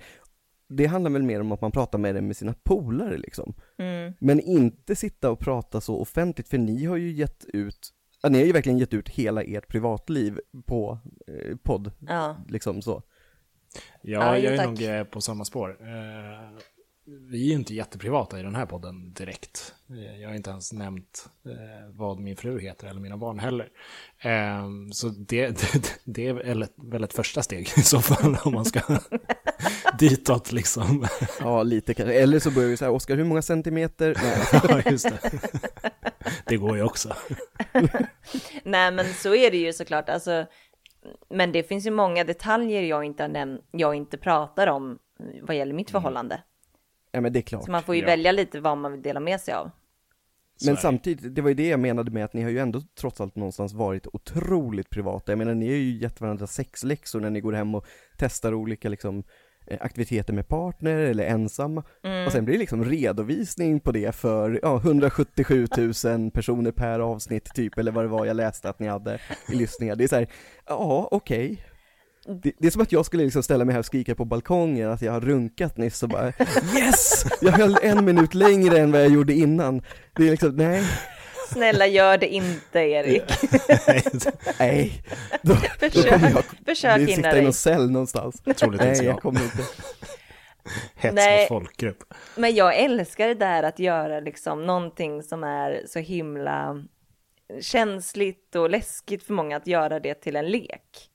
B: det handlar väl mer om att man pratar med det med sina polare liksom. Men inte sitta och prata så offentligt för ni har ju gett ut, ja, ni har ju verkligen gett ut hela ert privatliv på eh, podd,
C: Ja.
B: liksom så.
A: Ja,
C: Ja, jo,
A: jag är
C: tack.
A: nog eh, på samma spår. Eh, Vi är ju inte jätteprivata i den här podden direkt. Eh, Jag har inte ens nämnt eh, vad min fru heter eller mina barn heller. Eh, Så det, det, det är väl ett, väl ett första steg i så fall om man ska ditåt liksom.
B: Ja, lite kanske. Eller så börjar vi så här, Oskar hur många centimeter? Nej,
A: Ja, just det. Det går ju också.
C: Nej, men så är det ju såklart. Alltså, men det finns ju många detaljer jag inte, har näm- jag inte pratar om mm, vad gäller mitt förhållande.
B: Mm. ja, men det är klart.
C: Så man får ju
A: Ja.
C: välja lite vad man vill dela med sig av.
A: Så är
B: Men
A: det.
B: samtidigt, det var ju det jag menade med att ni har ju ändå trots allt någonstans varit otroligt privata. Jag menar ni har ju gett varandra sexläxor när ni går hem och testar olika liksom eh, aktiviteter med partner eller ensamma. Och sen blir det liksom redovisning på det för ja, 177 000 personer per avsnitt typ, eller vad det var jag läste att ni hade i lyssningar. Det är så här, ja okej. Det, det är som att jag skulle liksom ställa mig här och skrika på balkongen att jag har runkat nyss och bara Yes! Jag höll en minut längre än vad jag gjorde innan. Det är liksom, nej,
C: Snälla gör det inte Erik.
B: nej. Då, då
C: Försök-
B: kommer jag
C: försök
B: vi
C: hinna
B: sitta
C: dig.
B: i någon cell någonstans.
A: Troligtvis
B: Nej,
A: ja.
B: jag kommer inte.
A: Hets
C: Nej.
A: mot folkgrupp.
C: Men jag älskar det där att göra liksom någonting som är så himla känsligt och läskigt för många att göra det till en lek.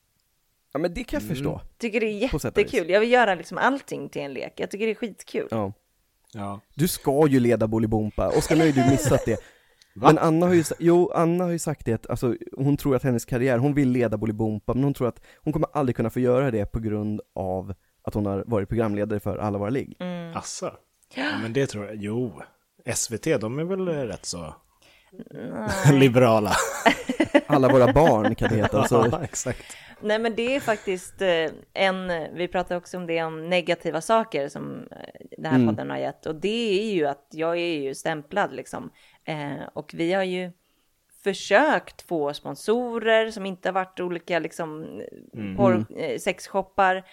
B: Ja men det kan jag förstå.
C: Tycker det är
B: På sätt och vis.
C: jättekul. Jag vill göra liksom allting till en lek. Jag tycker det är skitkul.
B: Ja.
A: Ja.
B: Du ska ju leda Bolibompa, Oskar nu har ju du missat det. Men Anna har ju, sa- jo, Anna har ju sagt det att alltså, hon tror att hennes karriär, hon vill leda Bolibompa, men hon tror att hon kommer aldrig kunna få göra det på grund av att hon har varit programledare för Alla våra ligg.
A: Asså. Ja, men det tror jag. Jo, SVT, de är väl eh, rätt så liberala.
B: Alla våra barn kan det heta, alltså,
A: Ja, exakt.
C: Nej men det är faktiskt eh, en, vi pratade också om det om negativa saker som eh, den här
B: Mm.
C: podden har gett och det är ju att jag är ju stämplad liksom eh, och vi har ju försökt få sponsorer som inte har varit olika liksom
B: Mm.
C: porr, eh, sexshoppar. Eh,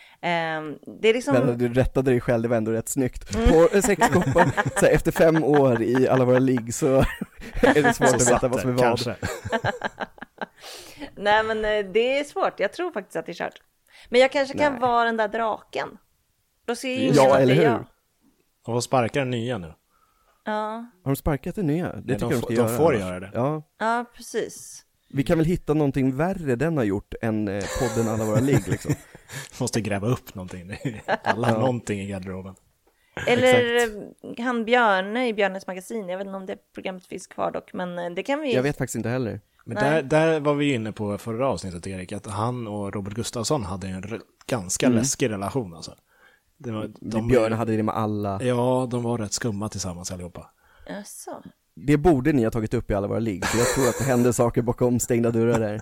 C: det är liksom,
B: men du rättade dig själv, det var ändå rätt snyggt. På eh, sexkoppar, så här, efter fem år i Alla våra ligg så är det svårt
A: Så
B: att
A: satt
B: veta vad
A: det,
B: som är vad.
A: kanske.
C: nej men eh, det är svårt, jag tror faktiskt att det är kört. Men jag kanske kan vara den där draken. Då ser ju ingen
B: Ja,
C: att
B: eller
C: det är
B: hur?
C: jag.
A: De får sparka den nya nu.
C: Ja,
B: Har de sparkat det nya? Det
A: de
B: tycker jag de
A: får-
B: ska
A: de
B: göra.
A: får
B: annars.
A: göra det.
B: Ja,
C: ja precis.
B: vi kan väl hitta någonting värre den har gjort än eh, podden Alla våra ligg liksom.
A: Måste gräva upp någonting. Alla har någonting i garderoben.
C: Eller eh, han Björne i Björnes magasin. Jag vet inte om det programmet finns kvar dock, men eh, det kan vi.
B: Jag vet faktiskt inte heller.
A: Men där, där var vi ju inne på förra avsnittet, Erik, att han och Robert Gustafsson hade en r- ganska läskig relation. Alltså. Det var, de,
B: Mm. Typ Björn hade det med alla.
A: Ja, de var rätt skumma tillsammans allihopa.
C: Jaså.
B: Det borde ni ha tagit upp i alla våra ligg, för jag tror att det hände saker bakom stängda dörrar där.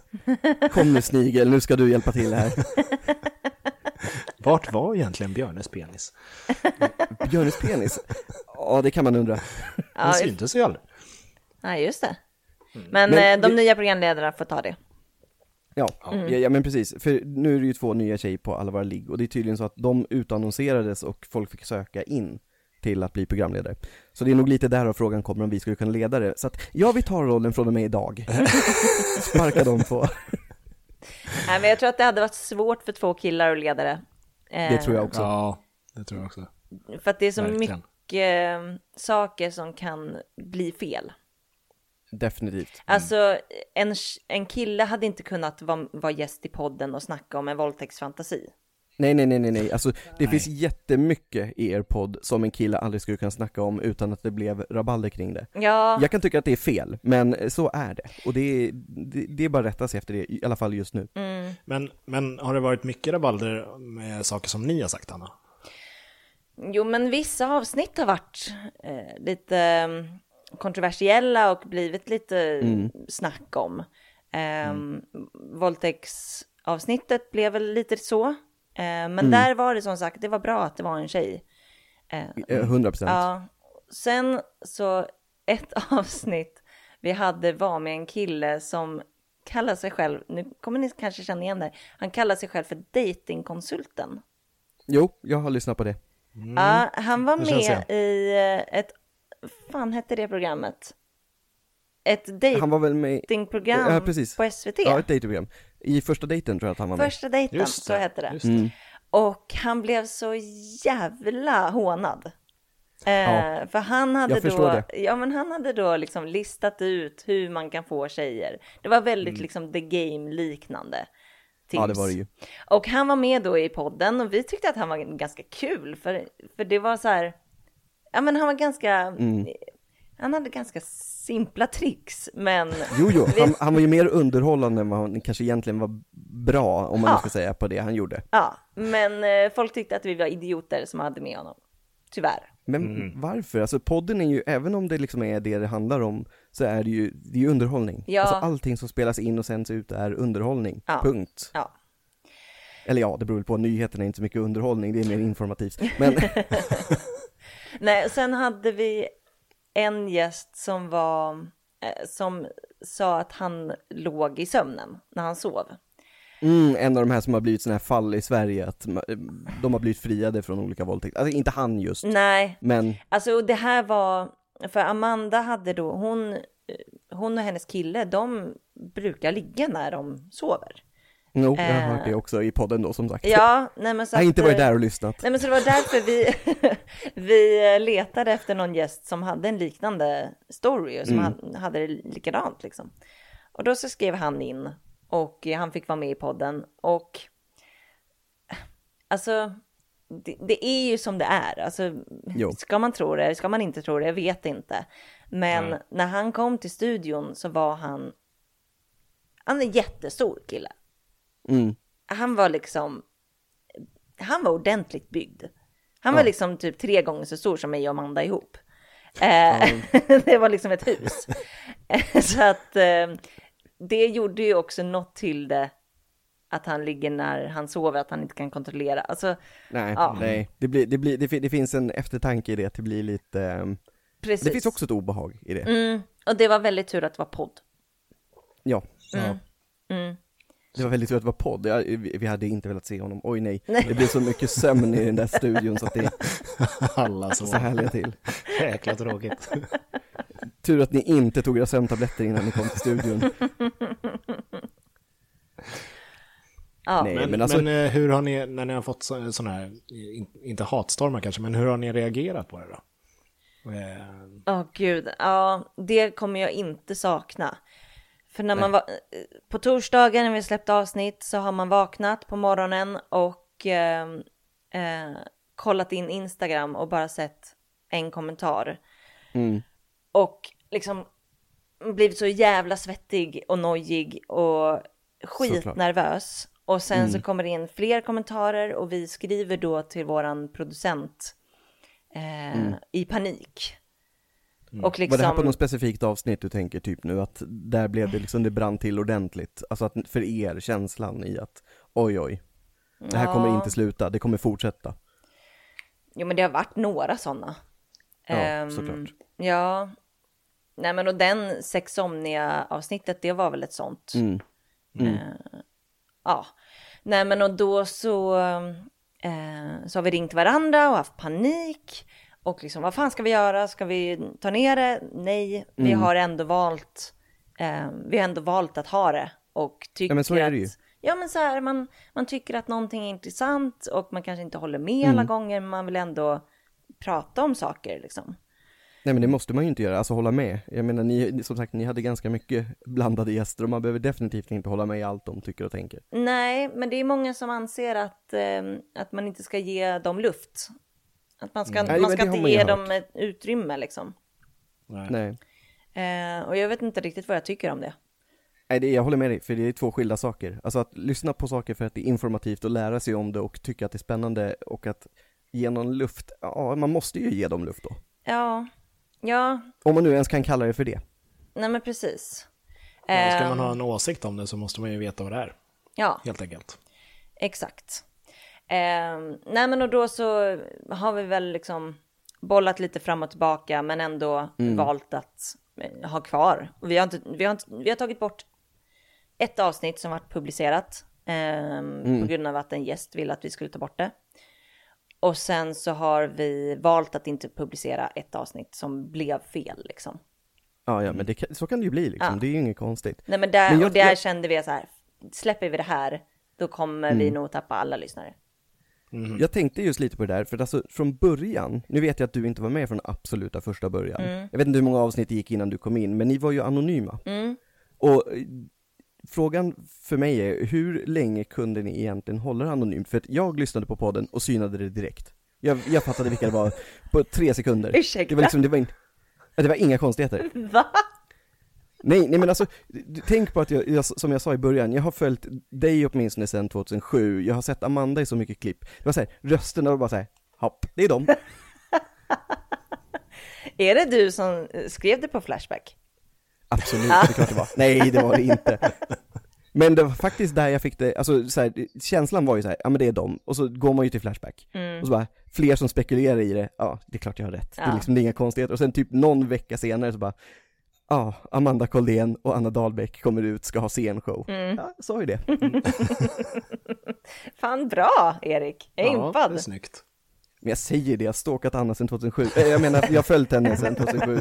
B: Kom nu Snigel, nu ska du hjälpa till här.
A: Vart var egentligen Björnes penis?
B: Björnes penis? Ja, det kan man undra.
A: Den
C: Ja, just,
A: syntes ju aldrig.
C: ja, just det. Men,
B: Mm. Men
C: eh, de
B: vi-
C: nya programledarna får ta det.
B: Ja,
C: Mm.
B: ja, ja men precis. För nu är det ju två nya tjejer på alla våra ligg och det är tydligen så att de utannonserades och folk fick söka in till att bli programledare. Så det är nog lite därav frågan kommer om vi skulle kunna leda det. Så att, ja vi tar rollen från och med idag. Sparka dem på.
C: Nej, men jag tror att det hade varit svårt för två killar att leda det.
B: Det tror jag också.
A: Ja, det tror jag också.
C: Eh, För att det är så
A: Verkligen.
C: mycket eh, saker som kan bli fel.
B: Definitivt.
C: Alltså en, en kille hade inte kunnat vara, vara gäst i podden och snacka om en våldtäktsfantasi.
B: Nej, nej, nej, nej, nej. Alltså, det
A: Nej.
B: finns jättemycket i er podd som en kille aldrig skulle kunna snacka om utan att det blev rabalder kring det.
C: Ja,
B: Jag kan tycka att det är fel, men så är det. Och det är, det, det är bara att rätta sig efter det, i alla fall just nu.
C: Mm.
A: Men, men har det varit mycket rabalder med saker som ni har sagt, Anna?
C: jo men vissa avsnitt har varit eh, lite eh, kontroversiella och blivit lite snack om. Eh, Våldtäktsavsnittet blev väl lite så. Eh, men där var det som sagt, det var bra att det var en tjej. Ehm,
B: Eh, 100%. procent.
C: Ja. Sen så ett avsnitt vi hade var med en kille som kallar sig själv, nu kommer ni kanske känna igen det, han kallar sig själv för datingkonsulten.
B: Jo, jag har lyssnat på det.
C: Ja, han var
A: det Mm. känns
C: med i eh, ett, fan hette det programmet? Ett
B: Han var väl med i-
C: datingprogram
B: Ja, precis.
C: på SVT.
B: ja, ett dejtprogram. I första dejten tror jag att han var med.
C: Första dejten,
A: Just
C: så
A: det,
C: hette det.
A: just det. Mm.
C: Och han blev så jävla hånad. Eh,
B: Ja,
C: för han hade
B: jag förstår
C: då,
B: det.
C: ja men han hade då liksom listat ut hur man kan få tjejer. Det var väldigt liksom the game liknande. Tips.
B: Mm. Ja, det var det ju.
C: Och han var med då i podden och vi tyckte att han var ganska kul för, för det var så här, ja men han var ganska,
B: Mm.
C: han hade ganska simpla tricks men
B: Jo, jo, han, han var ju mer underhållande än vad han kanske egentligen var bra, om man
C: Ja.
B: nu ska säga, på det han gjorde.
C: ja, men eh, folk tyckte att vi var idioter som hade med honom. Tyvärr.
B: Men varför? Alltså podden är ju, även om det liksom är det det handlar om, så är det ju, det är ju underhållning.
C: Ja.
B: Alltså allting som spelas in och sänds ut är underhållning,
C: Ja.
B: punkt.
C: Ja.
B: Eller ja, det beror väl på, nyheterna är inte så mycket underhållning, det är mer informativt. Men
C: Nej, och sen hade vi en gäst som var eh, som sa att han låg i sömnen när han sov.
B: mm, en av de här som har blivit sådana här fall i Sverige, att ma- eh, de har blivit friade från olika våldtäkter. Alltså inte han
C: Mm.
B: just,
C: Nej,
B: men
C: alltså och det här var för Amanda hade då hon eh, hon och hennes kille. De brukar ligga när de sover.
B: jo, jag har hört det också i podden då som sagt.
C: Eh. Ja, nej, men så
B: Jag har
C: att,
B: inte varit
C: eh,
B: där och lyssnat.
C: Nej, men så det var därför vi, vi letade efter någon gäst som hade en liknande story och som han- hade det likadant liksom. Och då så skrev han in och han fick vara med i podden och alltså det, det är ju som det är. Alltså,
B: Jo.
C: ska man tro det, ska man inte tro det, jag vet inte. Men när han kom till studion så var han, han är en jättestor kille.
B: Mm.
C: Han var liksom han var ordentligt byggd. Han var liksom typ tre gånger så stor som mig och Amanda ihop. Eh, det var liksom ett hus. Eh, så att eh, det gjorde ju också något till det att han ligger när han sover, att han inte kan kontrollera. Alltså,
B: Nej,
C: Ja.
B: nej. Det, blir, det, blir, det, fin- det finns en eftertanke i det, att det blir lite, ehm,
C: precis.
B: det finns också ett obehag i det.
C: Mm, och det var väldigt tur att det var podd.
B: Ja.
C: Mm.
A: Ja.
B: Det var väldigt tur att det var podd, jag, vi vi hade inte velat se honom, oj nej. Det blev så mycket sömn i den där studion så att det är
A: Alla
B: så
A: så
B: härliga till.
A: jäkla tråkigt.
B: Tur att ni inte tog era sömntabletter innan ni kom till studion.
C: Ja.
B: Nej, men,
A: Men,
B: alltså,
A: men eh, hur har ni, när ni har fått så- sådana här, in, inte hatstormar kanske, men hur har ni reagerat på det då? Eh,
C: Åh gud, ja det kommer jag inte sakna. För när man var, på torsdagen när vi släppte avsnitt så har man vaknat på morgonen och eh, eh, kollat in Instagram och bara sett en kommentar. Och liksom blivit så jävla svettig och nojig och skitnervös. Och sen så kommer det in fler kommentarer och vi skriver då till våran producent eh, i panik. Och
B: Mm. var det här på
C: liksom,
B: något specifikt avsnitt du tänker typ nu, att där blev det liksom, det brann till ordentligt? Alltså att, för er, känslan i att oj oj, det här kommer
C: Ja.
B: inte sluta, det kommer fortsätta.
C: jo men det har varit några sådana.
B: Ja,
C: Ehm,
B: såklart.
C: Ja, nej men och den sexomnia avsnittet, det var väl ett sånt. Eh, ja, nej men och då så, eh, så har vi ringt varandra och haft panik. Och liksom vad fan ska vi göra? Ska vi ta ner det? Nej, vi
B: Mm.
C: har ändå valt, eh, vi har ändå valt att ha det. Och tycker
B: Ja, men så är det ju.
C: att ja men så här, man, man tycker att någonting är intressant och man kanske inte håller med
B: Mm.
C: alla gånger, men man vill ändå prata om saker liksom.
B: Nej men det måste man ju inte göra, alltså hålla med. Jag menar ni, som sagt, ni hade ganska mycket blandade gäster och man behöver definitivt inte hålla med i allt de tycker och tänker.
C: Nej, men det är många som anser att, eh, att man inte ska ge dem luft. Att man ska,
B: Mm. Nej,
C: man
B: men
C: ska
B: det har
C: inte
B: man ju
C: ge
B: hört.
C: dem ett utrymme liksom.
A: Nej.
B: Nej.
C: Eh, och jag vet inte riktigt vad jag tycker om det.
B: Nej, det, jag håller med dig, för det är två skilda saker. Alltså att lyssna på saker för att det är informativt och lära sig om det och tycka att det är spännande och att ge någon luft, ja man måste ju ge dem luft då.
C: Ja, ja,
B: Om man nu ens kan kalla det för det.
C: nej men precis.
A: Men Ska
C: Eh,
A: man ha en åsikt om det så måste man ju veta vad det är,
C: ja,
A: helt enkelt.
C: exakt. Eh, nej men och då så har vi väl liksom bollat lite fram och tillbaka men ändå
B: Mm.
C: valt att eh, ha kvar. Och vi, har inte, vi, har inte, vi har tagit bort ett avsnitt som varit publicerat eh,
B: Mm.
C: på grund av att en gäst ville att vi skulle ta bort det. Och sen så har vi valt att inte publicera ett avsnitt som blev fel liksom.
B: Ja, ja, men det, kan- så kan det ju bli liksom,
C: Ja.
B: det är ju inget konstigt.
C: Nej men där,
B: Men jag-
C: och där
B: jag-
C: kände vi så här, släpper vi det här, då kommer vi
B: Mm.
C: nog tappa alla lyssnare.
B: Jag tänkte just lite på det där, för alltså från början, nu vet jag att du inte var med från absoluta första början. Jag vet inte hur många avsnitt det gick innan du kom in, men ni var ju anonyma. Och eh, frågan för mig är, hur länge kunde ni egentligen hålla det anonymt? För att jag lyssnade på podden och synade det direkt. Jag, jag fattade vilka det var på tre sekunder.
C: Ursäkta?
B: Det var liksom, det var, in, ja, det var inga konstigheter.
C: Va?
B: Nej, nej men alltså, du- tänk på att jag, jag, som jag sa i början, jag har följt dig åtminstone sedan 2007, jag har sett Amanda i så mycket klipp. Det var såhär, rösterna var bara såhär, hopp, det är dem.
C: Är det du som eh, skrev det på Flashback?
B: Absolut, det är klart det var. Nej, det var det inte. Men det var faktiskt där jag fick det, alltså så här, känslan var ju så här, ja men det är dem, och så går man ju till Flashback. Och så bara, fler som spekulerar i det, ja det är klart jag har rätt, det, är
C: Ja.
B: liksom, det är inga konstigheter. Och sen typ någon vecka senare så bara, ja, Amanda Koldén och Anna Dahlbäck kommer ut, ska ha scenshow. Ja, jag sa ju det.
C: Fan bra Erik, jag är
A: Ja, det är
C: impad.
A: snyggt.
B: Men jag säger det, jag har stalkat Anna sedan 2007, Eh, jag menar jag har följt henne sedan 2007.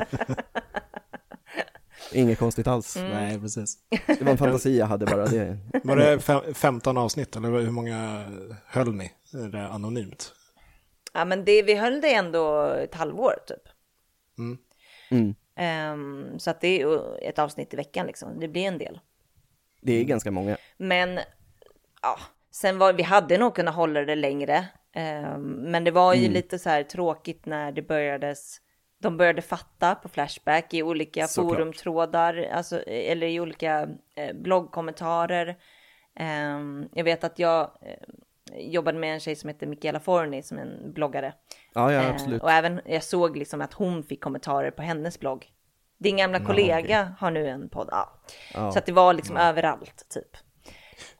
B: Inget konstigt alls,
C: Mm.
A: Nej, precis.
B: det var en fantasi jag hade bara. Det...
A: Var det fem, 15 avsnitt eller hur många höll ni eh, det anonymt?
C: Ja men det, vi höll det ändå ett halvår typ.
A: Mm.
B: Mm.
C: Ehm, så att det är ju ett avsnitt i veckan liksom, det blir en del.
B: Det är ganska många.
C: Men ja, sen var vi hade nog kunnat hålla det längre. Ehm, men det var ju
B: Mm.
C: lite så här tråkigt när det börjades. De började fatta på Flashback i olika
B: Såklart.
C: forumtrådar, alltså, eller i olika eh, bloggkommentarer. Ehm, jag vet att jag eh, jobbade med en tjej som heter Michaela Forni som är en bloggare.
B: Ja, ja
C: Eh,
B: absolut.
C: Och även jag såg liksom att hon fick kommentarer på hennes blogg. Din gamla kollega har nu en podd. Ja.
B: Ja.
C: Så att det var liksom överallt typ.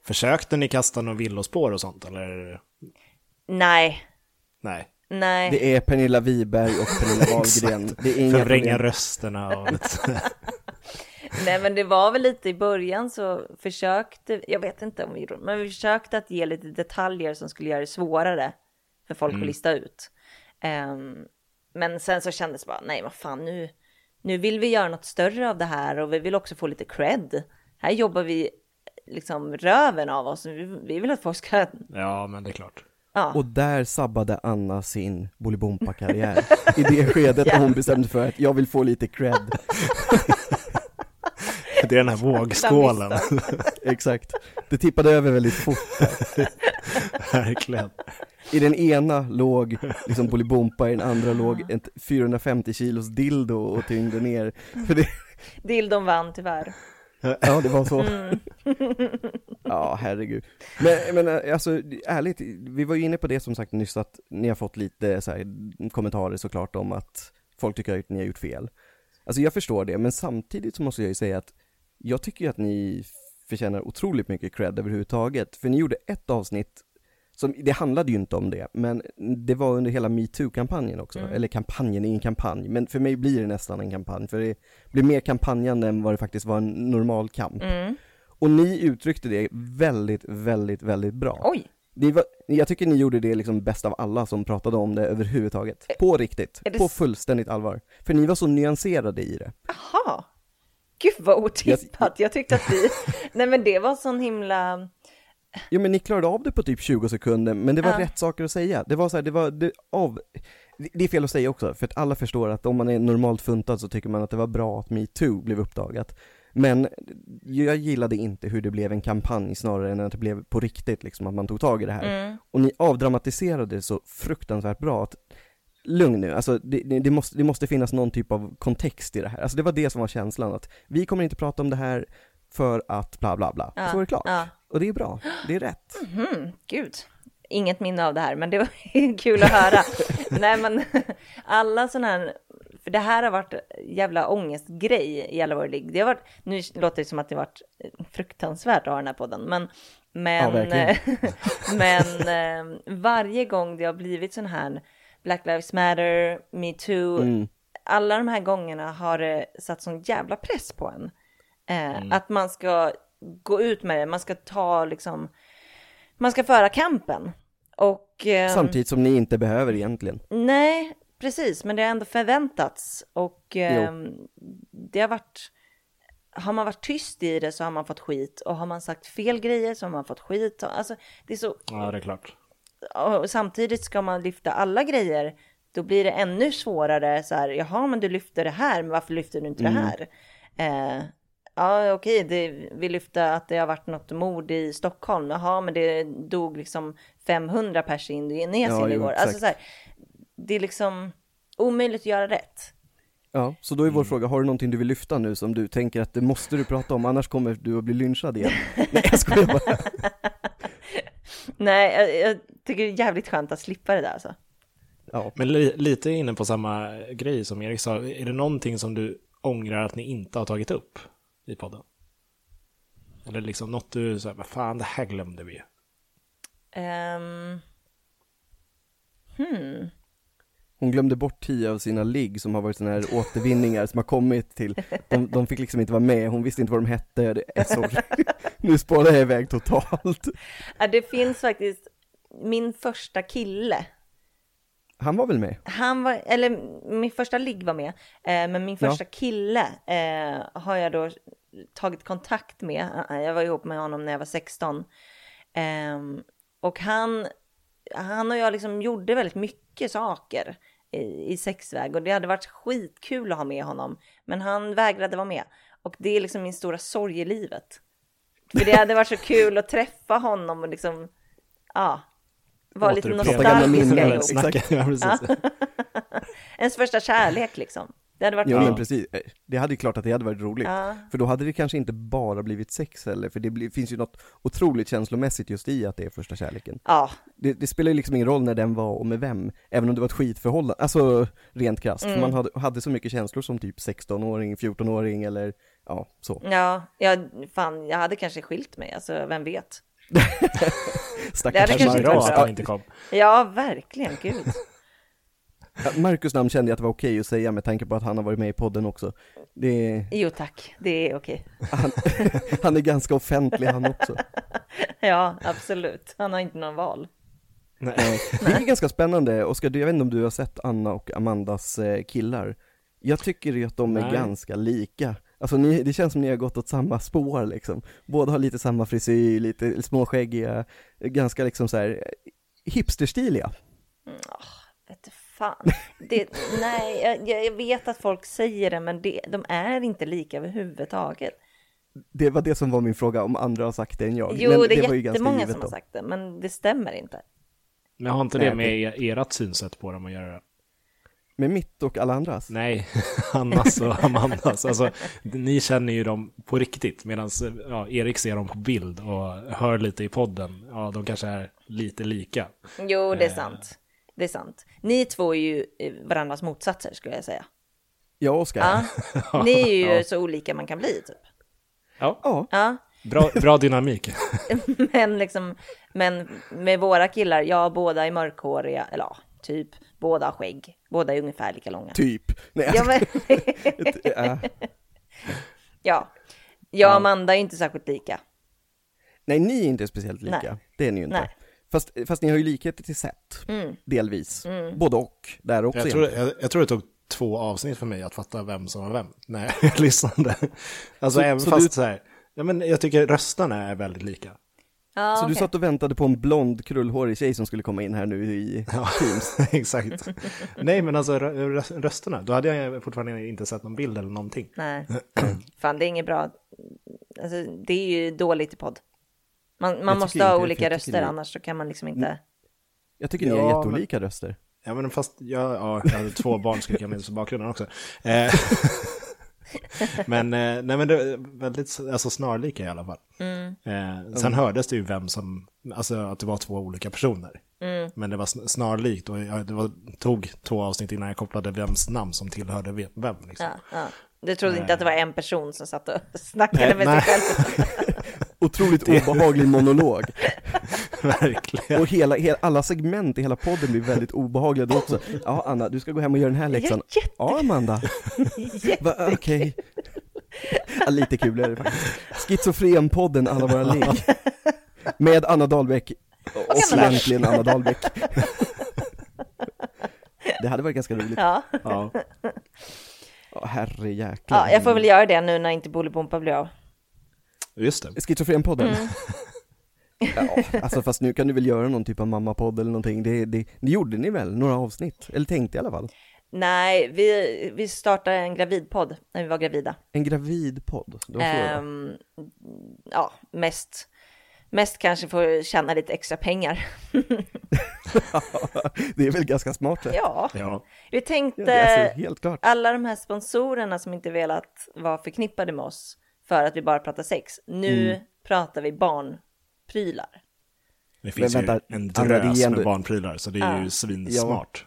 A: Försökte ni kasta några villospår och sånt eller?
C: Nej,
A: Nej,
C: nej.
B: Det är Pernilla Wiberg och Pernilla Wahlgren. Det är inga
A: förvränga
B: problem.
A: rösterna och lite.
C: Nej, men det var väl lite i början så försökte, jag vet inte om vi gjorde, men vi försökte att ge lite detaljer som skulle göra det svårare för folk att lista ut. Ehm, men sen så kändes det bara, nej vad fan nu, nu vill vi göra något större av det här och vi vill också få lite cred. Här jobbar vi liksom röven av oss, vi, vi vill att folk ska,
A: Ja, men det är klart.
C: ja.
B: Och där sabbade Anna sin Bolibompa-karriär. I det skedet när hon bestämde för att jag vill få lite cred.
A: Det är den här vågskålen.
B: Exakt. Det tippade över väldigt fort.
A: Verkligen.
B: I den ena låg liksom Bolibompa, i den andra låg ett 450 kilos dildo och tyngde ner. För det,
C: Dildon vann tyvärr.
B: Ja, det var så. ja, herregud. Men, men alltså, ärligt, vi var ju inne på det som sagt nyss att ni har fått lite så här, kommentarer såklart om att folk tycker att ni har gjort fel. Alltså jag förstår det, men samtidigt så måste jag ju säga att jag tycker ju att ni förtjänar otroligt mycket cred överhuvudtaget, för ni gjorde ett avsnitt som, det handlade ju inte om det, men det var under hela metoo-kampanjen också, eller kampanjen, ingen kampanj, men för mig blir det nästan en kampanj, för det blir mer kampanjande än vad det faktiskt var en normal kamp. Och ni uttryckte det väldigt, väldigt, väldigt bra.
C: Oj,
B: Det var, jag tycker ni gjorde det liksom bäst av alla som pratade om det överhuvudtaget. På riktigt,
C: är det
B: på
C: s-
B: fullständigt allvar. För ni var så nyanserade i det.
C: Jaha. Gud vad otippat. Jag tyckte att vi... Nej men det var sån himla...
B: Jo men ni klarade av det på typ 20 sekunder, men det var
C: Ja.
B: rätt saker att säga. Det var så här, det var, det, av, det- det är fel att säga också, för att alla förstår att om man är normalt funtad så tycker man att det var bra att metoo blev uppdagat. Men jag gillade inte hur det blev en kampanj snarare än att det blev på riktigt liksom, att man tog tag i det här.
C: Mm.
B: Och ni avdramatiserade det så fruktansvärt bra att, lugn nu, alltså det, det, det, måste, det måste finnas någon typ av kontext i det här. Alltså det var det som var känslan, att vi kommer inte prata om det här för att bla bla bla.
C: Ja,
B: Så är det klart.
C: Ja.
B: Och det är bra, det är rätt.
C: Mhm, gud. Inget minne av det här, men det var kul att höra. Nej, men alla sådana här, för det här har varit jävla ångestgrej i Gällivare League. Det har varit, nu låter det som att det har varit eh, fruktansvärt att ha den här podden, men,
B: Ja,
C: men,
B: verkligen.
C: men eh, varje gång det har blivit sån här Black Lives Matter, metoo,
B: Mm.
C: alla de här gångerna har det satt sån jävla press på en. Eh, Att man ska gå ut med det, man ska ta liksom, man ska föra kampen. Och eh,
B: Samtidigt som ni inte behöver egentligen.
C: nej, precis, men det har ändå förväntats och eh, det har varit, har man varit tyst i det så har man fått skit och har man sagt fel grejer så har man fått skit. Alltså, det är så
A: Ja, det är klart.
C: och samtidigt ska man lyfta alla grejer, då blir det ännu svårare så här, jaha men du lyfter det här, men varför lyfter du inte
B: Mm.
C: det här? Eh, ja okej, det, vi lyfte att det har varit något mord i Stockholm, jaha men det dog liksom 500 pers i Indonesien
B: Ja, jo,
C: igår.
B: exakt.
C: Alltså så här, det är liksom omöjligt att göra rätt.
B: Ja, så då är vår fråga, har du någonting du vill lyfta nu som du tänker att det måste du prata om, annars kommer du att bli lynchad igen? Nej jag skojar bara.
C: Nej, jag, jag tycker det är jävligt skönt att slippa det där alltså.
B: Ja.
A: Men li, lite inne på samma grej som Erik sa, är det någonting som du ångrar att ni inte har tagit upp i podden? Eller liksom något du säger, vad fan, det här glömde vi ju.
C: Ehm,
B: Hon glömde bort tio av sina ligg som har varit sådana här återvinningar som har kommit till, de, de fick liksom inte vara med, hon visste inte vad de hette, det är så, nu spårar jag iväg totalt.
C: ja, det finns faktiskt min första kille
B: Han var väl med?
C: Han var, eller min första ligg var med, eh, men min
B: Ja.
C: första kille eh, har jag då tagit kontakt med. eh, Jag var ihop med honom när jag var 16. Ehm, och han, han och jag liksom gjorde väldigt mycket saker i, i sexväg och det hade varit skitkul att ha med honom. Men han vägrade vara med och det är liksom min stora sorg i livet. För det hade varit så kul att träffa honom och liksom, ja, vara lite
A: Återuppleva
B: Propaganda
C: nostalgiska
B: minnen.
A: det här
C: ihop.
A: snacket. Ja, precis.
C: Ens första kärlek liksom. Det hade varit
B: Jo
A: Ja.
B: men precis, Eh, det hade ju klart att det hade varit roligt.
C: Ja.
B: För då hade det kanske inte bara blivit sex heller, för det blir- finns ju något otroligt känslomässigt just i att det är första kärleken.
C: Ja,
B: det, det spelar ju liksom ingen roll när den var och med vem, även om det var ett skitförhållande, alltså rent krasst,
C: Mm.
B: för man hade, hade så mycket känslor som typ 16-åring, 14-åring eller ja, så.
C: ja, jag, fan, jag hade kanske skilt mig, alltså vem vet. Det
B: Stackars
C: hade
A: Kanske
C: kanske
A: bra
C: inte
A: att han
B: Marcus.
A: inte kom.
C: Ja, verkligen, gud.
B: Ja, Marcus namn kände jag att det var okej att säga med tanke på att han har varit med i podden också. Det,
C: Jo tack, det är okej.
B: han, han är ganska offentlig han också.
C: Ja, absolut. Han har inte någon val.
A: Nej.
B: Det är ganska spännande, Oskar, du- jag vet inte om du har sett Anna och Amandas eh, killar? Jag tycker ju att de är
A: Nej.
B: ganska lika. Alltså ni, det känns som ni har gått åt samma spår liksom. Båda har lite samma frisyr, lite småskäggiga, eh, ganska liksom så här eh, hipsterstiliga.
C: Vet du fan. Det, nej, jag, jag vet att folk säger det, men det, de är inte lika överhuvudtaget.
B: Det var det som var min fråga, om andra har sagt det än jag.
C: Jo,
B: Men
C: det är
B: var ju ganska
C: jättemånga
B: givet
C: som har
B: då.
C: sagt det, men det stämmer inte.
A: Men har inte
B: Nej,
A: det med er, ert synsätt på dem att göra?
B: Med mitt och alla andras.
A: Nej, Annas och Amandas. Alltså, ni känner ju dem på riktigt, medan ja, Erik ser dem på bild och hör lite i podden. Ja, de kanske är lite lika.
C: Jo,
B: Eh.
C: det är sant. Det är sant. Ni två är ju eh, varandras motsatser skulle jag säga.
B: Jag och Oskar.
C: Ja. Ni är ju så olika man kan bli typ.
A: Ja,
B: ja.
C: Ja,
A: bra, bra dynamik.
C: men liksom, men med våra killar, ja, båda är mörkhåriga, eller ja, typ, båda har skägg, båda är ungefär lika långa.
B: Typ. Nej,
C: Ja, men,
B: äh,
C: ja. Jag och Amanda är inte särskilt lika.
B: Nej, ni är inte speciellt lika.
C: Nej.
B: Det är ni ju inte.
C: Nej. Mm.
B: Fast, fast ni har ju likheter till sätt, delvis. Både och, där också.
A: Jag tror, jag, jag tror det tog två avsnitt för mig att fatta vem som var vem när jag lyssnade. Alltså
B: Så-
A: även
B: så
A: fast
B: du-
A: så här, ja, men jag tycker rösterna är väldigt lika.
C: Ja,
B: Så du
C: okej.
B: satt och väntade på en blond krullhårig tjej som skulle komma in här nu i
A: Ja, exakt. Nej, men alltså rö- rö- rösterna, då hade jag fortfarande inte sett någon bild eller någonting.
C: Nej, fan det är inget bra. Alltså, det är ju dåligt i podd. Man, man
B: tycker
C: måste
B: inte
C: ha
B: det, för
C: olika
B: jag tycker
C: röster,
B: det- Mm.
C: annars så kan man liksom inte...
B: Jag tycker ni har
A: Ja,
B: jätteolika röster.
A: Ja, men fast jag, ja, jag hade två barn skrika med i bakgrunden också. Eh, men, eh, nej, men det är väldigt alltså, snarlika i alla fall. Eh,
B: Mm.
A: sen hördes det ju vem som, alltså att det var två olika personer. Men det var sn- snarlikt och jag, det var, tog två avsnitt innan jag kopplade vems namn som tillhörde ve- vem. Liksom.
C: Ja, ja. Du trodde inte att det var en person som satt och snackade
A: Nej,
C: med
A: nej.
C: sig själv?
B: Otroligt obehaglig monolog.
A: Verkligen.
B: Och hela, hela, alla segment i hela podden blir väldigt obehagliga då också. Ja, Anna, du ska gå hem och göra den här läxan.
C: är jätte-
B: Ja, Amanda.
C: Jätte-
B: Va, Okej. Ja, lite kul är det faktiskt. Schizofrenpodden Alla våra ligg. Med Anna Dahlbäck. Och
C: Anna Dahlbäck.
B: äntligen Anna Dahlbäck. Det hade varit ganska roligt.
C: Ja.
A: Ja.
B: Oh, herre jäklar.
C: ja, jag får väl göra det nu när inte Bolibompa blir av.
A: Just det.
B: Schizofrenpodden? Ja, alltså fast nu kan du väl göra någon typ av mammapodd eller någonting, det, det, det gjorde ni väl, några avsnitt? Eller tänkte i alla fall.
C: Nej, vi, vi startade en gravidpodd när vi var gravida.
B: En gravidpodd, det var så det var.
C: Ehm, ja, mest, mest kanske för att tjäna lite extra pengar.
B: Det är väl ganska smart det?
C: ja,
A: Ja.
C: vi
B: Ja,
C: tänkte...
B: det- Alltså helt klart.
C: alla de här sponsorerna som inte velat vara förknippade med oss för att vi bara pratar sex. Nu
B: Mm.
C: pratar vi barnprylar.
A: Det finns
B: Men
A: ju
B: vänta,
A: en
B: Anna, det är
A: drös
B: ändå-
A: med barnprylar, så det är ju svinsmart.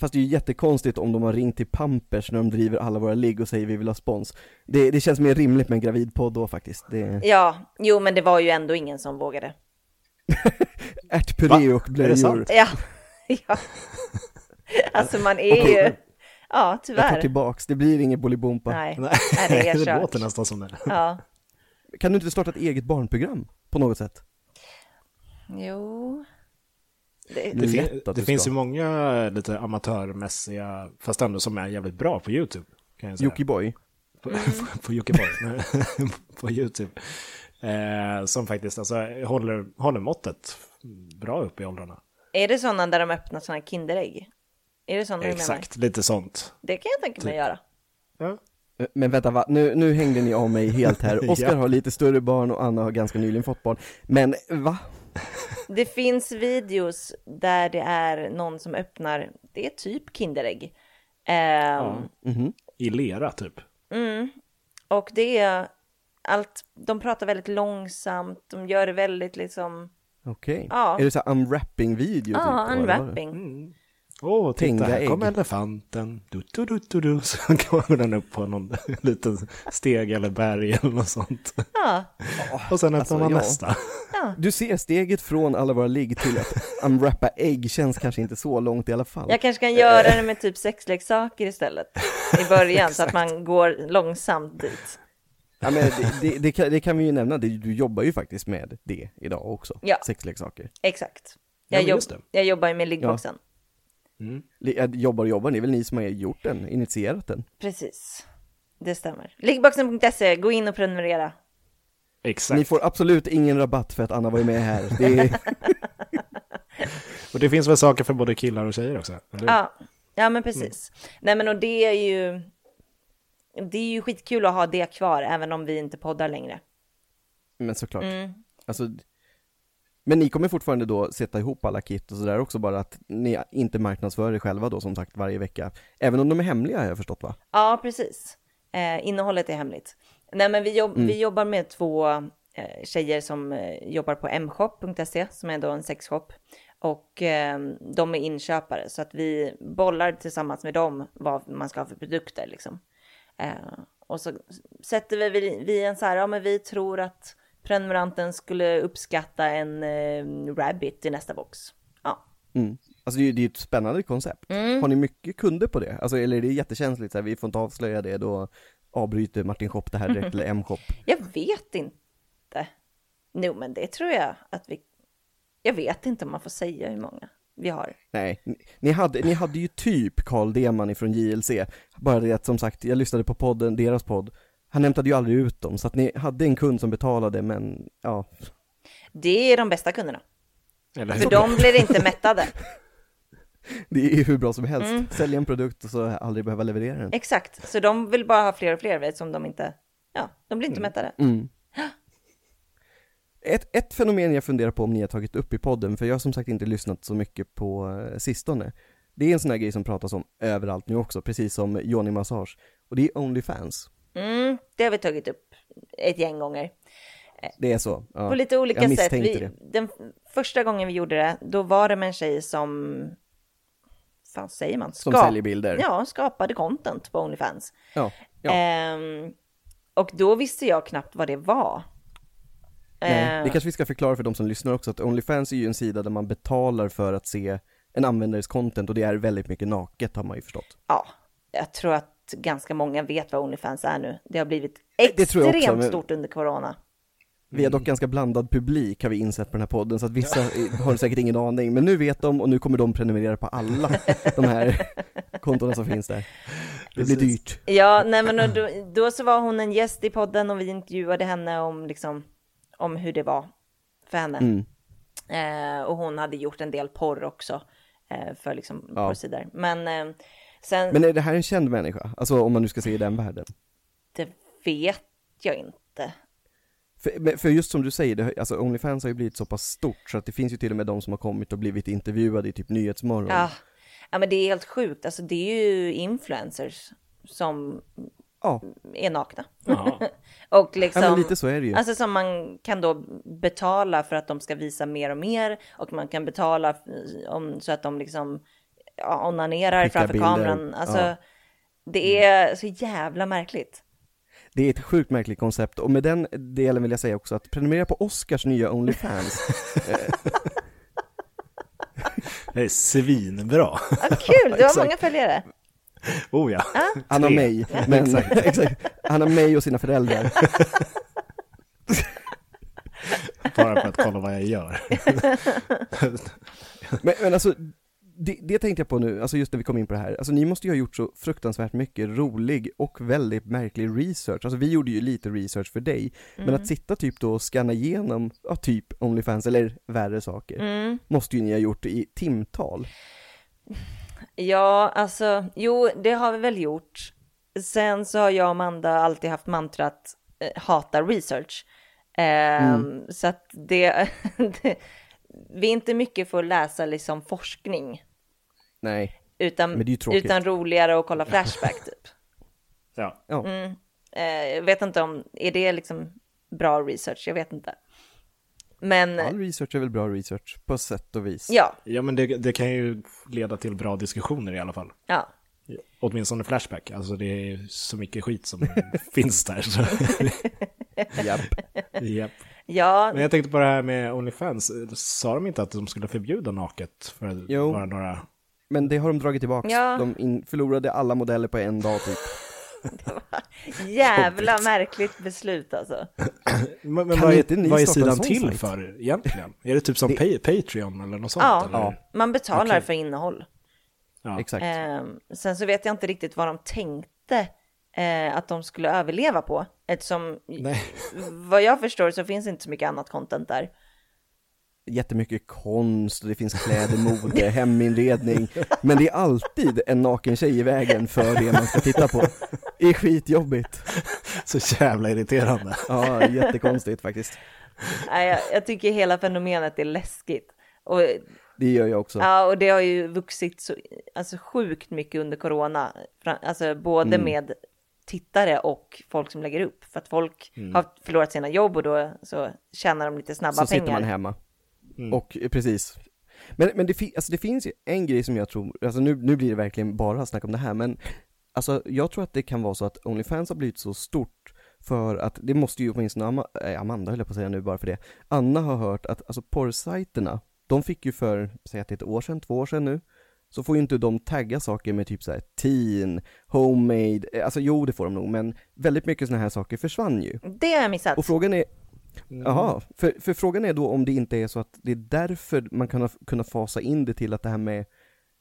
B: Fast det är ju jättekonstigt om de har ringt till Pampers när de driver alla våra ligg och säger vi vill ha spons. Det, det känns mer rimligt med en gravidpodd då faktiskt. Det,
C: Ja, jo, men det var ju ändå ingen som vågade.
B: ärtpuré
A: Va?
B: och
A: Är det
B: blöjor.
A: sant?
C: Ja, ja. alltså man är ju, ja
B: Jag tar
C: tyvärr.
B: tillbaks, det blir ingen Bolibompa.
C: Nej,
A: Nej,
C: Nej, det är
A: det
C: kört.
A: låter nästan som det.
C: Ja,
B: Kan du inte starta ett eget barnprogram på något sätt?
C: jo. Det,
A: Det, fin-
B: Lätt att
A: Mm. det
B: du
A: finns
B: ska.
A: ju många lite amatörmässiga, fast ändå som är jävligt bra på YouTube. Kan jag säga.
B: Jockiboi?
A: På, på Jockiboi. Nej, på YouTube. Eh, som faktiskt alltså, håller, håller måttet bra upp i åldrarna.
C: är det sådana där de öppnar sådana Kinderägg? Är det sådana du menar?
A: Exakt, lite sånt.
C: Det kan jag tänka mig att göra.
A: Ja.
B: Eh, Men vänta, va? Nu, nu hängde ni av mig helt här. Oskar
A: Ja.
B: har lite större barn och Anna har ganska nyligen fått barn. Men va?
C: Det finns videos där det är någon som öppnar, det är typ Kinderägg. Ehm,
A: I lera typ.
C: Och det är allt, de pratar väldigt långsamt, de gör det väldigt liksom,
B: Okej.
C: Ja.
B: Är det så här unwrapping-video?
C: ja,
B: typ, eller vad?
C: unwrapping.
A: Åh, titta,
B: Tända
A: här kom
B: ägg.
A: elefanten. Du, du, du, du, du. Så kommer den upp på någon liten steg eller berg eller något sånt.
C: Ja,
A: Och sen öppnar
B: Alltså,
A: man
B: ja.
A: nästa.
B: Du ser, steget från alla våra ligg till att unwrappa ägg känns kanske inte så långt i alla fall.
C: jag kanske kan göra det med typ sexleksaker istället i början så att man går långsamt dit.
B: Ja, men det, det, det, kan, det kan vi ju nämna, det, du jobbar ju faktiskt med det idag också,
C: Ja.
B: sexleksaker.
C: Exakt.
A: Ja,
C: Jag,
A: men
C: jobb,
A: just det.
C: jag jobbar ju med liggboxen.
B: Li- äh, Jobbar och jobbar, det är väl ni som har gjort den, initierat den?
C: Precis, det stämmer. Liggboxen.se, gå in och prenumerera.
A: Exakt.
B: Ni får absolut ingen rabatt för att Anna var ju med här. Det är,
A: Och det finns väl saker för både killar och tjejer också? Eller?
C: Ja, ja men precis. Nej men och det är ju, det är ju skitkul att ha det kvar även om vi inte poddar längre.
B: men såklart. Alltså, men ni kommer fortfarande då sätta ihop alla kit och sådär också, bara att ni inte marknadsför er själva då som sagt varje vecka. Även om de är hemliga har jag förstått va?
C: Ja, precis. Eh, innehållet är hemligt. Nej, men vi, jobb, vi jobbar med två eh, tjejer som eh, jobbar på mshop.se som är då en sexshop och eh, de är inköpare så att vi bollar tillsammans med dem vad man ska ha för produkter liksom. Eh, och så sätter vi, vi, vi en så här, ja men vi tror att prenumeranten skulle uppskatta en eh, rabbit i nästa box. Ja.
B: Mm. Alltså det är ju det är ju ett spännande koncept. Har ni mycket kunder på det? Alltså, eller är det jättekänsligt så här, vi får inte avslöja det, då avbryter Martin Shop det här direkt, eller M-shop.
C: Jag vet inte. Jo, men det tror jag att vi... Jag vet inte om man får säga hur många vi har.
B: Nej, ni- ni hade, ni hade ju typ Carl Deman ifrån JLC, bara det att som sagt, jag lyssnade på podden, deras podd, han hämtade ju aldrig ut dem, så att ni hade en kund som betalade, men ja,
C: Det är de bästa kunderna.
A: Eller
C: För de blir inte mättade.
B: Det är ju hur bra som helst.
C: Mm.
B: Sälja en produkt och så aldrig behöva leverera den.
C: Exakt, så de vill bara ha fler och fler vet, som de inte, ja, de blir inte
B: Mm.
C: mättade.
B: Ett, ett fenomen jag funderar på om ni har tagit upp i podden, för jag har som sagt inte lyssnat så mycket på eh, sistone. Det är en sån här grej som pratas om överallt nu också, precis som Johnny Massage. Och det är Onlyfans.
C: Mm, det har vi tagit upp ett gäng gånger.
B: Det är så. Ja.
C: Eh, På lite olika
B: jag
C: sätt.
B: misstänkte
C: Vi,
B: det.
C: Den första gången vi gjorde det, då var det med en tjej som, fan säger man?
B: Som
C: Skap-
B: säljer bilder.
C: Ja, skapade content på Onlyfans.
B: Ja, ja.
C: Ehm, och då visste jag knappt vad det var.
B: Nej,
C: Eh,
B: det kanske vi ska förklara för de som lyssnar också, att Onlyfans är ju en sida där man betalar för att se en användares content och det är väldigt mycket naket har man ju förstått.
C: Ja, jag tror att ganska många vet vad Onlyfans är nu. Det har blivit
B: Det tror jag också,
C: extremt
B: men-
C: stort under corona.
B: Vi har
C: Mm.
B: dock ganska blandad publik har vi insett på den här podden, så att vissa har säkert ingen aning, men nu vet de och nu kommer de prenumerera på alla de här kontona som finns där. Det blir
A: Precis.
B: dyrt.
C: Ja, nej men och då, då så var hon en gäst i podden och vi intervjuade henne om liksom om hur det var för henne.
B: Mm.
C: Eh, och hon hade gjort en del porr också eh, för liksom
B: Ja.
C: porrsidor. Men eh, sen,
B: Men är det här en känd människa? Alltså om man nu ska se i den världen?
C: det vet jag inte.
B: För, men- för just som du säger, det, har- alltså Onlyfans har ju blivit så pass stort så att det finns ju till och med de som har kommit och blivit intervjuade i typ Nyhetsmorgon.
C: Ja. ja, men det är helt sjukt. Alltså det är ju influencers som
B: ja.
C: är nakna.
A: Ja.
C: Och liksom,
B: Ja, men lite så är det ju.
C: Alltså som man kan då betala för att de ska visa mer och mer och man kan betala eh, om, så att de liksom ja, onanerar
B: Skickar
C: framför
B: bilder.
C: kameran. Alltså,
B: Ja.
C: Det är så jävla märkligt.
B: Det är ett sjukt märkligt koncept och med den delen vill jag säga också att prenumerera på Oscars nya Onlyfans.
A: Det är svinbra.
C: Ja, kul, du har
B: Exakt.
C: många följare.
A: Oh ja.
B: Han har
A: Tre.
B: mig, men exakt. Han har mig och sina föräldrar.
A: Bara för att kolla vad jag gör.
B: Men, men alltså, det, det tänkte jag på nu, alltså just när vi kom in på det här. Alltså ni måste ju ha gjort så fruktansvärt mycket rolig och väldigt märklig research. Alltså vi gjorde ju lite research för dig, men
C: Mm.
B: att sitta typ då och scanna igenom, ja typ Onlyfans eller värre saker,
C: Mm.
B: måste ju ni ha gjort i timtal.
C: Ja, alltså, jo, det har vi väl gjort. Sen så har jag och Amanda alltid haft mantrat eh, hata research. Ehm,
B: Mm.
C: Så att det, det, vi är inte mycket för att läsa liksom forskning,
B: Nej.
C: utan,
B: Men det är ju tråkigt.
C: utan roligare att kolla Flashback typ.
A: Ja.
B: Ja.
C: Eh, jag vet inte om, är det liksom bra research? Jag vet inte. Men
B: All research är väl bra research, på sätt och vis.
C: ja,
A: ja, men det, det kan ju leda till bra diskussioner i alla fall.
C: ja.
A: Åtminstone Flashback, alltså det är så mycket skit som finns där. Så.
B: Japp.
A: Japp.
C: Ja,
A: Men jag tänkte på det här med Onlyfans, sa de inte att de skulle förbjuda naket för
B: Jo.
A: bara några...
B: Men det har de dragit tillbaka.
C: Ja.
B: De in, förlorade alla modeller på en dag typ.
C: jävla märkligt beslut alltså.
A: Men, men
B: Kan
A: vad,
B: inte
A: är,
B: ni
A: vad är
B: starta en
A: sidan
B: sån
A: till
B: sajt?
A: för egentligen? Är det typ som pa Patreon eller något sånt?
C: Ja,
A: eller?
C: man betalar för innehåll.
A: Ja.
B: Exakt.
C: Ehm, sen så vet jag inte riktigt vad de tänkte eh, att de skulle överleva på. Eftersom
A: Nej.
C: vad jag förstår så finns inte så mycket annat content där.
B: jättemycket konst och det finns kläder, mode, heminredning. Men det är alltid en naken tjej i vägen för det man ska titta på. Det är skitjobbigt.
A: Så jävla irriterande.
B: Ja, jättekonstigt faktiskt.
C: Nej, jag, jag tycker hela fenomenet är läskigt. Och,
B: Det gör jag också.
C: ja, och det har ju vuxit så alltså, sjukt mycket under corona. Fra- Alltså både
B: Mm.
C: med tittare och folk som lägger upp. För att folk har förlorat sina jobb och då så tjänar de lite snabba
B: Mm. Så
C: pengar.
B: sitter man hemma. Och eh, precis. Men, men det, fi- alltså det finns ju en grej som jag tror, alltså nu, nu blir det verkligen bara snack om det här, men alltså jag tror att det kan vara så att Onlyfans har blivit så stort för att, det måste ju åtminstone Ama, eh, Amanda höll jag på att säga nu bara för det, Anna har hört att alltså porrsajterna, de fick ju för, säg att det är ett år sedan, två år sedan nu, så får ju inte de tagga saker med typ så här teen, homemade, eh, alltså jo det får de nog, men väldigt mycket sådana här saker försvann ju.
C: Det har jag missat.
B: Och frågan är, jaha, för, för frågan är då om det inte är så att det är därför man kan ha, kunna fasa in det till att det här med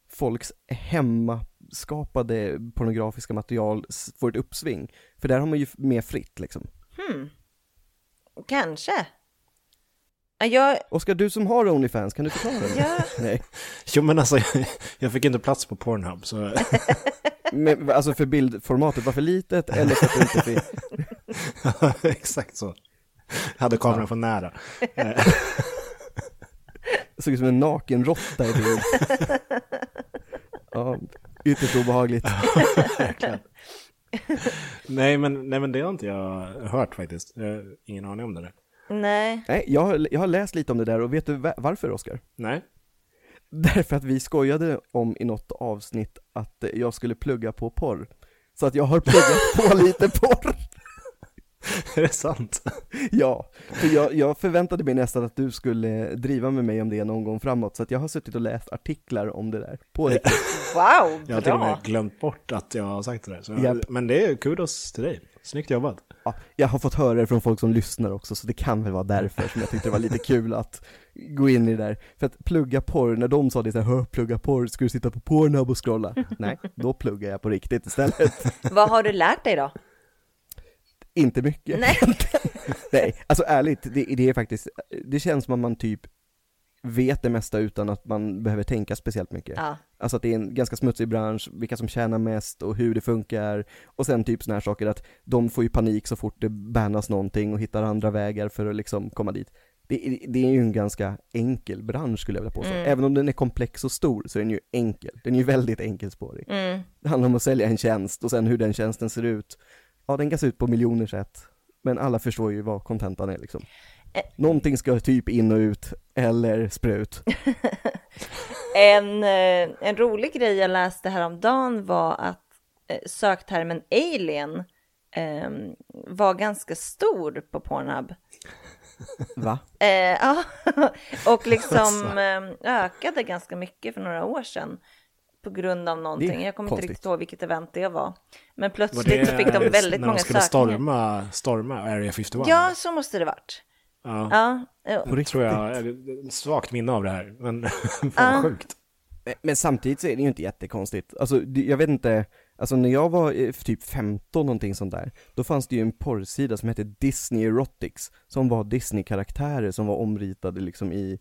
B: folks hemmaskapade pornografiska material s- får ett uppsving. För
C: Hmm.
B: där har man ju f- mer fritt liksom.
C: Kanske. Ja, Jag,
B: Oskar, du som har Onlyfans, kan du förklara det?
C: Ja.
B: Nej,
A: Jo, men alltså, jag fick inte plats på Pornhub, så
B: men alltså för bildformatet var för litet eller för att du inte fick...
A: exakt så. Jag hade kameran för nära.
B: Det såg ut som en naken råtta i bild. Ja, ytterst obehagligt.
A: Nej men, nej, men det har inte jag hört faktiskt. Jag har ingen aning om det där.
C: nej.
B: Nej, jag har, jag har läst lite om det där och vet du va- varför, Oskar?
A: Nej.
B: Därför att vi skojade om i något avsnitt att eh, jag skulle plugga på porr. Så att jag har pluggat på lite porr.
A: Är det sant?
B: Ja, för jag, jag förväntade mig nästan att du skulle driva med mig om det någon gång framåt, så att jag har suttit och läst artiklar om det där. På riktigt.
C: Wow,
A: Jag har till och
C: bra.
A: med glömt bort att jag har sagt det där. Så,
B: Japp.
A: Men det är kudos till dig. Snyggt jobbat.
B: Ja, jag har fått höra det från folk som lyssnar också, så det kan väl vara därför som jag tyckte det var lite kul att gå in i det där. För att plugga porr, när de sa det så här, "Hö, plugga porr, ska du sitta på Pornhub och scrolla? Nej, då pluggar jag på riktigt istället.
C: Vad har du lärt dig då?
B: Inte mycket.
C: Nej.
B: Nej, alltså ärligt, det, det är faktiskt, det känns som att man typ vet det mesta utan att man behöver tänka speciellt mycket.
C: Ja.
B: Alltså att det är en ganska smutsig bransch, vilka som tjänar mest och hur det funkar. Och sen typ såna här saker att de får ju panik så fort det bannas någonting och hittar andra vägar för att liksom komma dit. Det, är- det är ju en ganska enkel bransch skulle jag vilja påstå. Även om den är komplex och stor så är den ju enkel. Den är ju väldigt enkelspårig. Det handlar om att sälja en tjänst och sen hur den tjänsten ser ut. Ja, den kan se ut på miljoner sätt. Men alla förstår ju vad kontentan är liksom.
C: Eh.
B: Någonting ska typ in och ut, eller sprut.
C: En, eh, en rolig grej jag läste häromdagen var att eh, söktermen alien eh, var ganska stor på Pornhub.
B: Va?
C: Eh, ja, och
A: Alltså.
C: liksom eh, ökade ganska mycket för några år sedan på grund av någonting. Jag kommer
B: konstigt.
C: inte riktigt ihåg vilket event det var. Men
A: Var
C: plötsligt så fick de väldigt
A: när
C: många
A: de skulle
C: sökningar.
A: storma, storma Area 51?
C: Ja, så måste det varit.
A: Ja.
C: Ja, eh,
B: På riktigt?
A: Tror jag, eller, svagt minne av det här, men fan sjukt.
B: Men- Eh, Men samtidigt så är det ju inte jättekonstigt. Alltså, det- jag vet inte, alltså när jag var eh, typ 15 någonting sånt där, då fanns det ju en porrsida som hette Disney Erotics, som var Disney-karaktärer som var omritade liksom i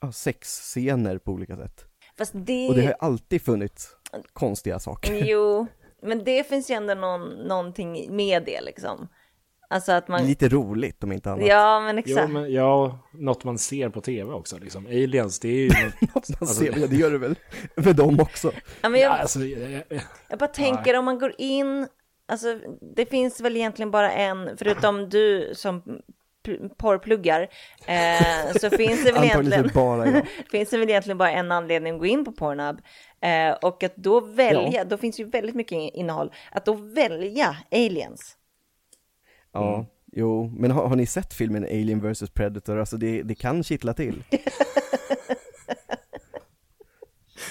B: ja, sexscener på olika sätt.
C: fast det...
B: Och det har ju alltid funnits konstiga saker.
C: Jo, men det finns ju ändå någon, någonting med det liksom. Alltså att man...
B: Lite roligt om inte annat.
C: Ja, men
A: Jo,
C: exakt.
A: men, ja, något man ser på tv också. Liksom. Aliens, det är ju... något-
B: Man ser, ja, det gör det väl med dem också.
C: Ja, men jag,
A: Alltså, jag- jag-
C: jag bara tänker om man går in, alltså det finns väl egentligen bara en, förutom du som p- porrpluggar, eh, så finns det väl
B: Antagligen
C: egentligen...
B: så bara jag.
C: finns det väl egentligen bara en anledning att gå in på Pornhub. Eh, och att då välja, då finns ju väldigt mycket innehåll, att då välja aliens.
B: Ja, jo, men har, har ni sett filmen Alien vs Predator? Alltså det, det kan kittla till.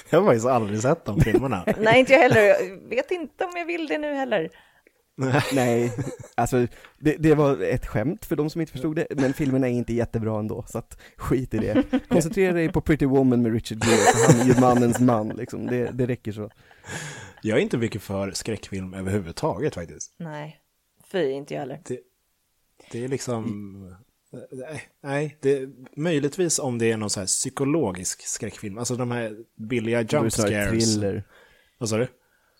A: Jag har faktiskt aldrig sett de filmerna.
C: Nej, inte jag heller. Jag vet inte om jag vill det nu heller.
B: Nej, alltså det, det var ett skämt för de som inte förstod det, men filmen är inte jättebra ändå, så att skit i det. Koncentrera dig på Pretty Woman med Richard Gere, för han är ju mannens man liksom, det, det räcker så.
A: Jag är inte mycket för skräckfilm överhuvudtaget faktiskt.
C: Nej, fy, inte jag heller.
A: Det, det är liksom... Nej, det, möjligtvis om det är någon så här psykologisk skräckfilm. Alltså de här billiga
B: Då är det
A: jump
B: snarare
A: scares.
B: thriller,
A: Vad sa du?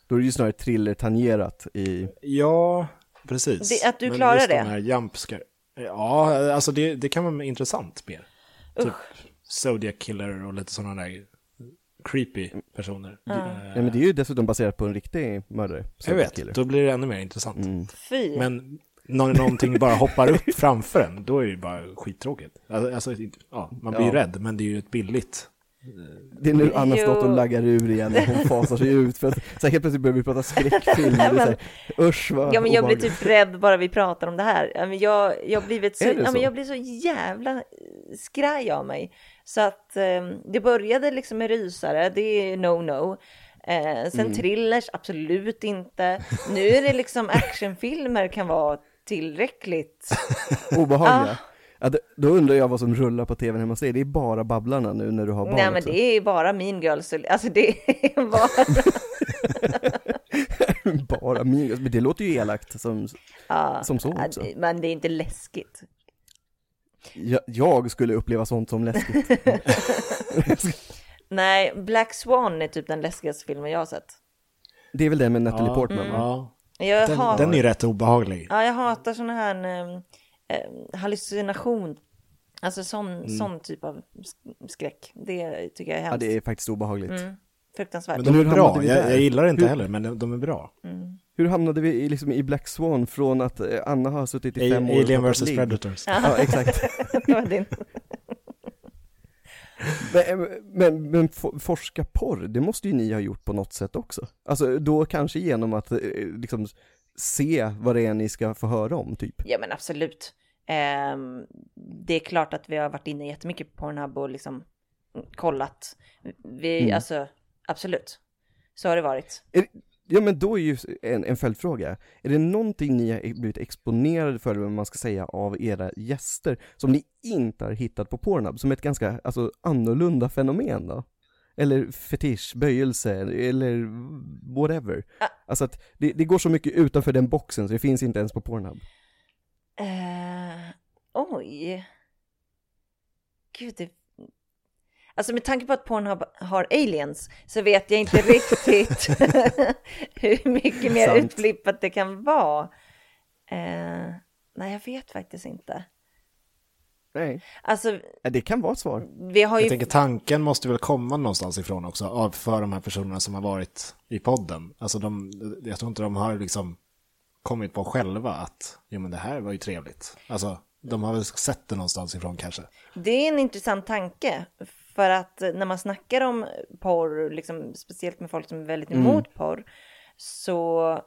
B: då är det ju snarare thriller-tangerat i,
A: Ja, precis.
C: Det- att du
A: Men
C: klarar
A: just
C: det?
A: De här jump scare. Ja, alltså det, det kan vara intressant mer. Typ Zodiac Killer och lite sådana där creepy personer. Eh,
B: nej men det är ju dessutom baserat på en riktig mördare.
A: Jag vet,
B: serial killer.
A: då blir det ännu mer intressant.
B: Mm.
C: Fy.
A: Men när någonting bara hoppar upp framför en, då är det ju bara skittråkigt. Alltså, alltså, ja, man blir ju
B: Ja.
A: rädd, men det är ju ett billigt.
B: Det är nu Anna
C: Jo.
B: står och laggar ur igen och hon fasar sig ut för att så här, helt plötsligt börjar vi prata skräckfilm och det är så här, usch vad
C: Ja, men jag blir
B: obehagligt.
C: typ rädd bara vi pratar om det här. Ja, men Jag, jag, har blivit så,
B: Är det
C: ja,
B: så?
C: men jag blir så jävla eh, skraj av mig. Så att eh, det började liksom med rysare, det är no-no. Eh, sen
B: Mm.
C: thrillers, absolut inte. Nu är det liksom actionfilmer kan vara tillräckligt.
B: obehagliga. Ja, d- då undrar jag vad som rullar på tvn hemma hos dig. Det är bara Babblarna nu när du har barn
C: Nej, men
B: också.
C: det är bara Mean Girls. Alltså det är bara...
B: bara minus. Men det låter ju elakt som, som så
C: Ja,
B: också.
C: det- Men det är inte läskigt.
B: Jag, jag skulle uppleva sånt som läskigt.
C: Nej, Black Swan är typ den läskigaste filmen jag har sett.
B: Det är väl den med Natalie
A: Ja,
B: Portman
C: Mm.
B: va?
A: Mm. Ja.
C: Jag,
A: Den,
C: hatar,
A: den är ju rätt obehaglig.
C: ja, jag hatar sån här em, em, hallucination. Alltså sån,
A: Mm.
C: sån typ av sk- skräck. Det tycker jag är
B: Ja,
C: hemskt.
B: det är faktiskt obehagligt.
C: Mm. Fruktansvärt.
A: Men de
B: hur
A: är bra,
B: hamnade vi där?
A: jag, jag gillar det inte
B: Hur-
A: heller, men de- de är bra.
B: Hur hamnade vi i, liksom, i Black Swan från att eh, Anna har suttit i fem år och
A: Alien
B: pratat
A: vs
B: ligg?
A: Predators.
B: Ja, exakt.
C: Det var din.
B: Men, eh, men, men for- forska porr, det måste ju ni ha gjort på något sätt också. Alltså då kanske genom att eh, liksom se vad det är ni ska få höra om typ.
C: Ja men absolut. Ehm, det är klart att vi har varit inne jättemycket på Pornhub och liksom kollat. Vi,
A: Mm.
C: alltså absolut. Så har det varit.
B: Är, ja men då är ju en, en följdfråga, är det någonting ni har blivit exponerade för, eller vad man ska säga, av era gäster som ni inte har hittat på Pornhub, som ett ganska alltså, annorlunda fenomen då? Eller fetisch, böjelse, eller whatever.
C: Ah.
B: Alltså att det, det går så mycket utanför den boxen så det finns inte ens på Pornhub.
C: Eh, oj. Gud, det... Alltså med tanke på att Pornhub har aliens så vet jag inte riktigt hur mycket mer
B: Sant.
C: utflippat det kan vara. Eh, nej, jag vet faktiskt inte.
B: Nej.
C: Alltså,
B: Det kan vara ett svar.
C: vi har
A: Jag
C: ju...
A: tänker tanken måste väl komma någonstans ifrån också, av, för de här personerna som har varit i podden. Alltså de, jag tror inte de har liksom kommit på själva att, jo men det här var ju trevligt. Alltså, de har väl sett det någonstans ifrån kanske.
C: Det är en intressant tanke. För att när man snackar om porr, liksom, speciellt med folk som är väldigt
B: Mm.
C: emot porr, så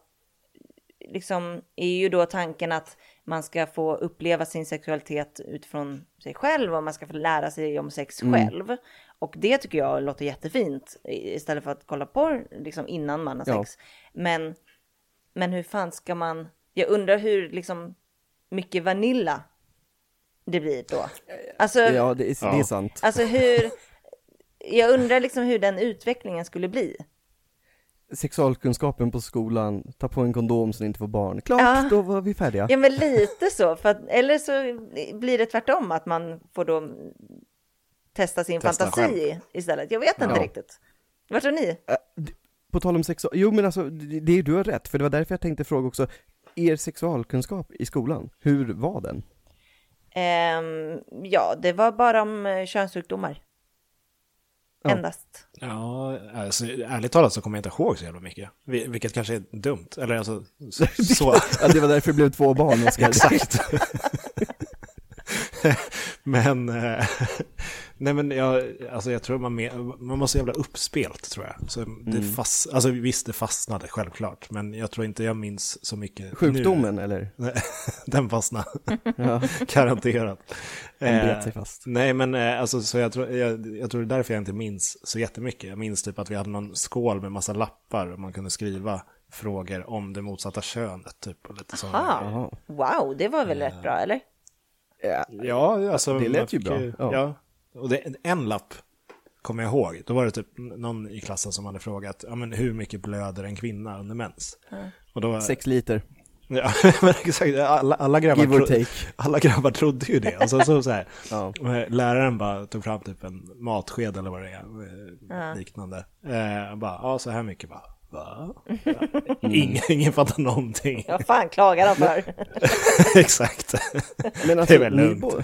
C: liksom, är ju då tanken att man ska få uppleva sin sexualitet utifrån sig själv och man ska få lära sig om sex
B: Mm.
C: själv. Och det tycker jag låter jättefint i- istället för att kolla porr liksom, innan man har
B: Ja.
C: sex. Men, men hur fan ska man... Jag undrar hur liksom, mycket vanilla det blir då. Alltså,
B: Ja, det är, det är
A: Ja.
B: sant.
C: alltså hur... Jag undrar liksom hur den utvecklingen skulle bli.
B: Sexualkunskapen på skolan, ta på en kondom så ni inte får barn. Klart,
C: Ja.
B: då var vi färdiga.
C: Ja, men lite så. För att, eller så blir det tvärtom, att man får då testa sin
A: Testa
C: fantasi istället. Jag vet inte
A: Ja.
C: riktigt. Vad tror ni?
B: På tal om sexual, jo men alltså det, det, du har rätt, för det var därför jag tänkte fråga också, er sexualkunskap i skolan, hur var den?
C: Ehm, ja, det var bara om eh, könssjukdomar.
B: Ja.
C: Endast.
A: Ja, alltså, ärligt talat så kommer jag inte ihåg så jävla mycket. Vil- Vilket kanske är dumt, eller alltså så. så
B: Ja, det var därför det blev två barn, Oskar.
A: Exakt. men, eh, nej men jag, alltså jag tror man, mer- man var så jävla uppspelt tror jag. Så det
B: Mm.
A: fast, alltså visst, det fastnade självklart, men jag tror inte jag minns så mycket. Nu.
B: Sjukdomen eller?
A: Nej, Den fastnade,
B: Ja,
A: garanterat.
B: den bet
A: Eh,
B: sig fast.
A: Nej, men eh, alltså, så jag, tror, jag, jag tror det är därför jag inte minns så jättemycket. Jag minns typ att vi hade någon skål med massa lappar och man kunde skriva frågor om det motsatta könet. Typ, och lite sådana grejer.
C: Ah, wow, det var väl rätt bra, eller?
A: Eh.
B: Ja.
A: Ja, alltså,
B: Det lät
A: man
B: ju
A: fick
B: bra,
A: Ja.
B: ja.
A: Och det, en lapp kommer jag ihåg. Då var det typ någon i klassen som hade frågat ja, men hur mycket blöder en kvinna under mens? Och då var,
B: Sex liter.
A: Ja, men exakt. Alla, alla, grabbar
B: Give
A: tro,
B: or take.
A: alla grabbar trodde ju det. Och sen så, så här, Eh,
B: Ja.
A: läraren bara tog fram typ en matsked eller vad det är, eh, liknande. Eh, bara, ja så här mycket bara. Va? Ingen, ingen fattar någonting.
C: Vad fan klagar han för?
A: Exakt.
B: Men alltså,
A: väl
B: ni,
A: lugnt.
B: bo-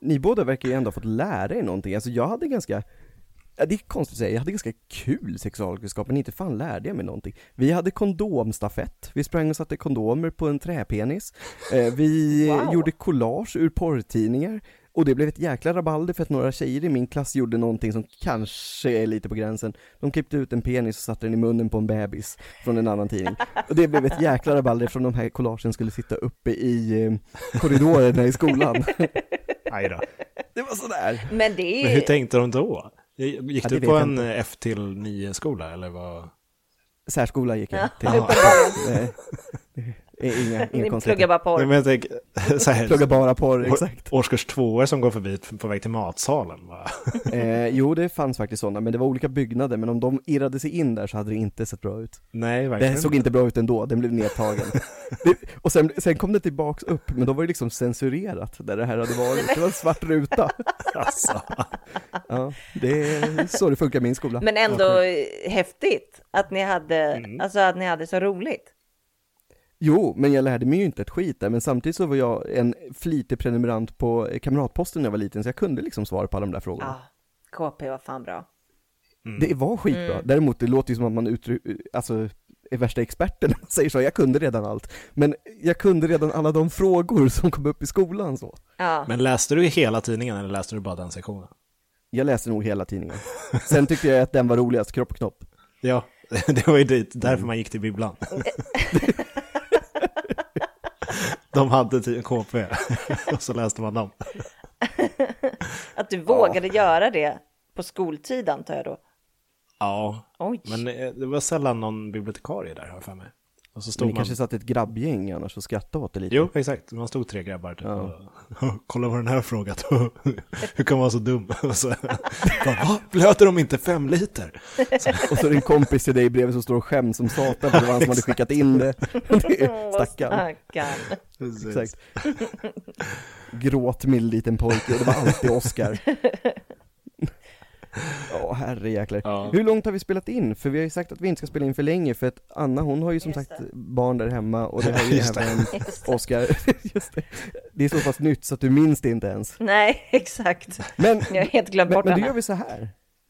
B: ni båda verkar ju ändå ha fått lära er någonting. Alltså jag hade ganska, ja, det är konstigt att säga, jag hade ganska kul sexualkunskap, men inte fan lärde jag mig någonting. Vi hade kondomstafett, vi sprang och satte kondomer på en träpenis, eh, vi
C: Wow.
B: gjorde collage ur porrtidningar, och det blev ett jäkla rabalder för att några tjejer i min klass gjorde någonting som kanske är lite på gränsen. De klippte ut en penis och satte den i munnen på en bebis från en annan tidning. Och det blev ett jäkla rabalder från de här collagen skulle sitta uppe i eh, korridorerna i skolan.
A: Aj då.
B: Det var sådär.
C: Men det
A: Men hur
C: är ju...
A: tänkte de då? Gick
B: Ja, det
A: du
B: vet
A: på
B: jag
A: en
B: inte.
A: F till 9-skola eller vad?
B: Särskola gick jag till.
C: Uppenbarligen.
B: Nej. Eh, Inga, inga
C: Ni pluggar
B: konstigheter.
C: bara
A: Nej,
C: porr.
A: men jag tänker, så här,
B: Pluggar bara porr,
A: å-
B: exakt.
A: Årskurs tvåor som går förbi på väg till matsalen. Va?
B: Eh, jo, det fanns faktiskt sådana, men det var olika byggnader, men om de irrade sig in där så hade det inte sett bra ut.
A: Nej, verkligen.
B: Det såg inte bra ut ändå, den blev nedtagen. Det, och sen, sen kom det tillbaks upp, men då var det liksom censurerat där det här hade varit. Det var en svart ruta.
A: Alltså.
B: Ja, det är så det funkar i min skola.
C: Men ändå häftigt att ni hade, alltså att ni hade så roligt.
B: Jo, men jag lärde mig ju inte ett skit där, men samtidigt så var jag en flitig prenumerant på eh, Kamratposten när jag var liten, så jag kunde liksom svara på alla de där
C: Ja,
B: frågorna.
C: KP var fan bra.
B: Det var skitbra. Däremot, det låter ju som att man utry- alltså, är värsta experten när man säger så, jag kunde redan allt. Men jag kunde redan alla de frågor som kom upp i skolan så.
C: Ja,
A: Men läste du hela tidningen eller läste du bara den sektionen?
B: Jag läste nog hela tidningen. Sen tyckte jag att den var roligast, Kropp och Knopp.
A: Ja, det var ju dit, därför
B: Mm.
A: man gick till bibblan.
B: Eh.
A: De hade typ till KP och så läste man dem.
C: att du vågade göra det på skoltid antar jag då.
A: Ja,
C: Oj.
A: men eh, det var sällan någon bibliotekarie där har jag för mig. Och så
B: Men
A: stod
B: ni
A: man...
B: kanske satt ett grabbgäng annars och skrattade åt det lite.
A: Jo, exakt. Man stod tre grabbar typ, och kolla vad den här frågat. Hur kan man vara så dum? Och så, bara, Va? Blöter de inte fem liter?
B: Och så är det en kompis till dig bredvid som står och skäms som satan för det var han som hade skickat in det. det är
C: Åh,
B: eh, stackarn.
C: stackarn.
B: Exakt. Gråt min liten pojke, det var alltid Oscar. Ja, herrejäklar.
A: Ja.
B: Hur långt har vi spelat in? För vi har ju sagt att vi inte ska spela in för länge, för att Anna hon har ju som
C: Just
B: sagt barn där hemma och det har ju
A: Just det.
B: även
C: Just det.
B: Oscar. Just det. det är så pass nytt så att du minns det inte ens.
C: Nej, exakt.
B: Men,
C: Jag har helt glömt
B: men,
C: bort
B: men
C: den
B: då gör
C: här.
B: vi så här.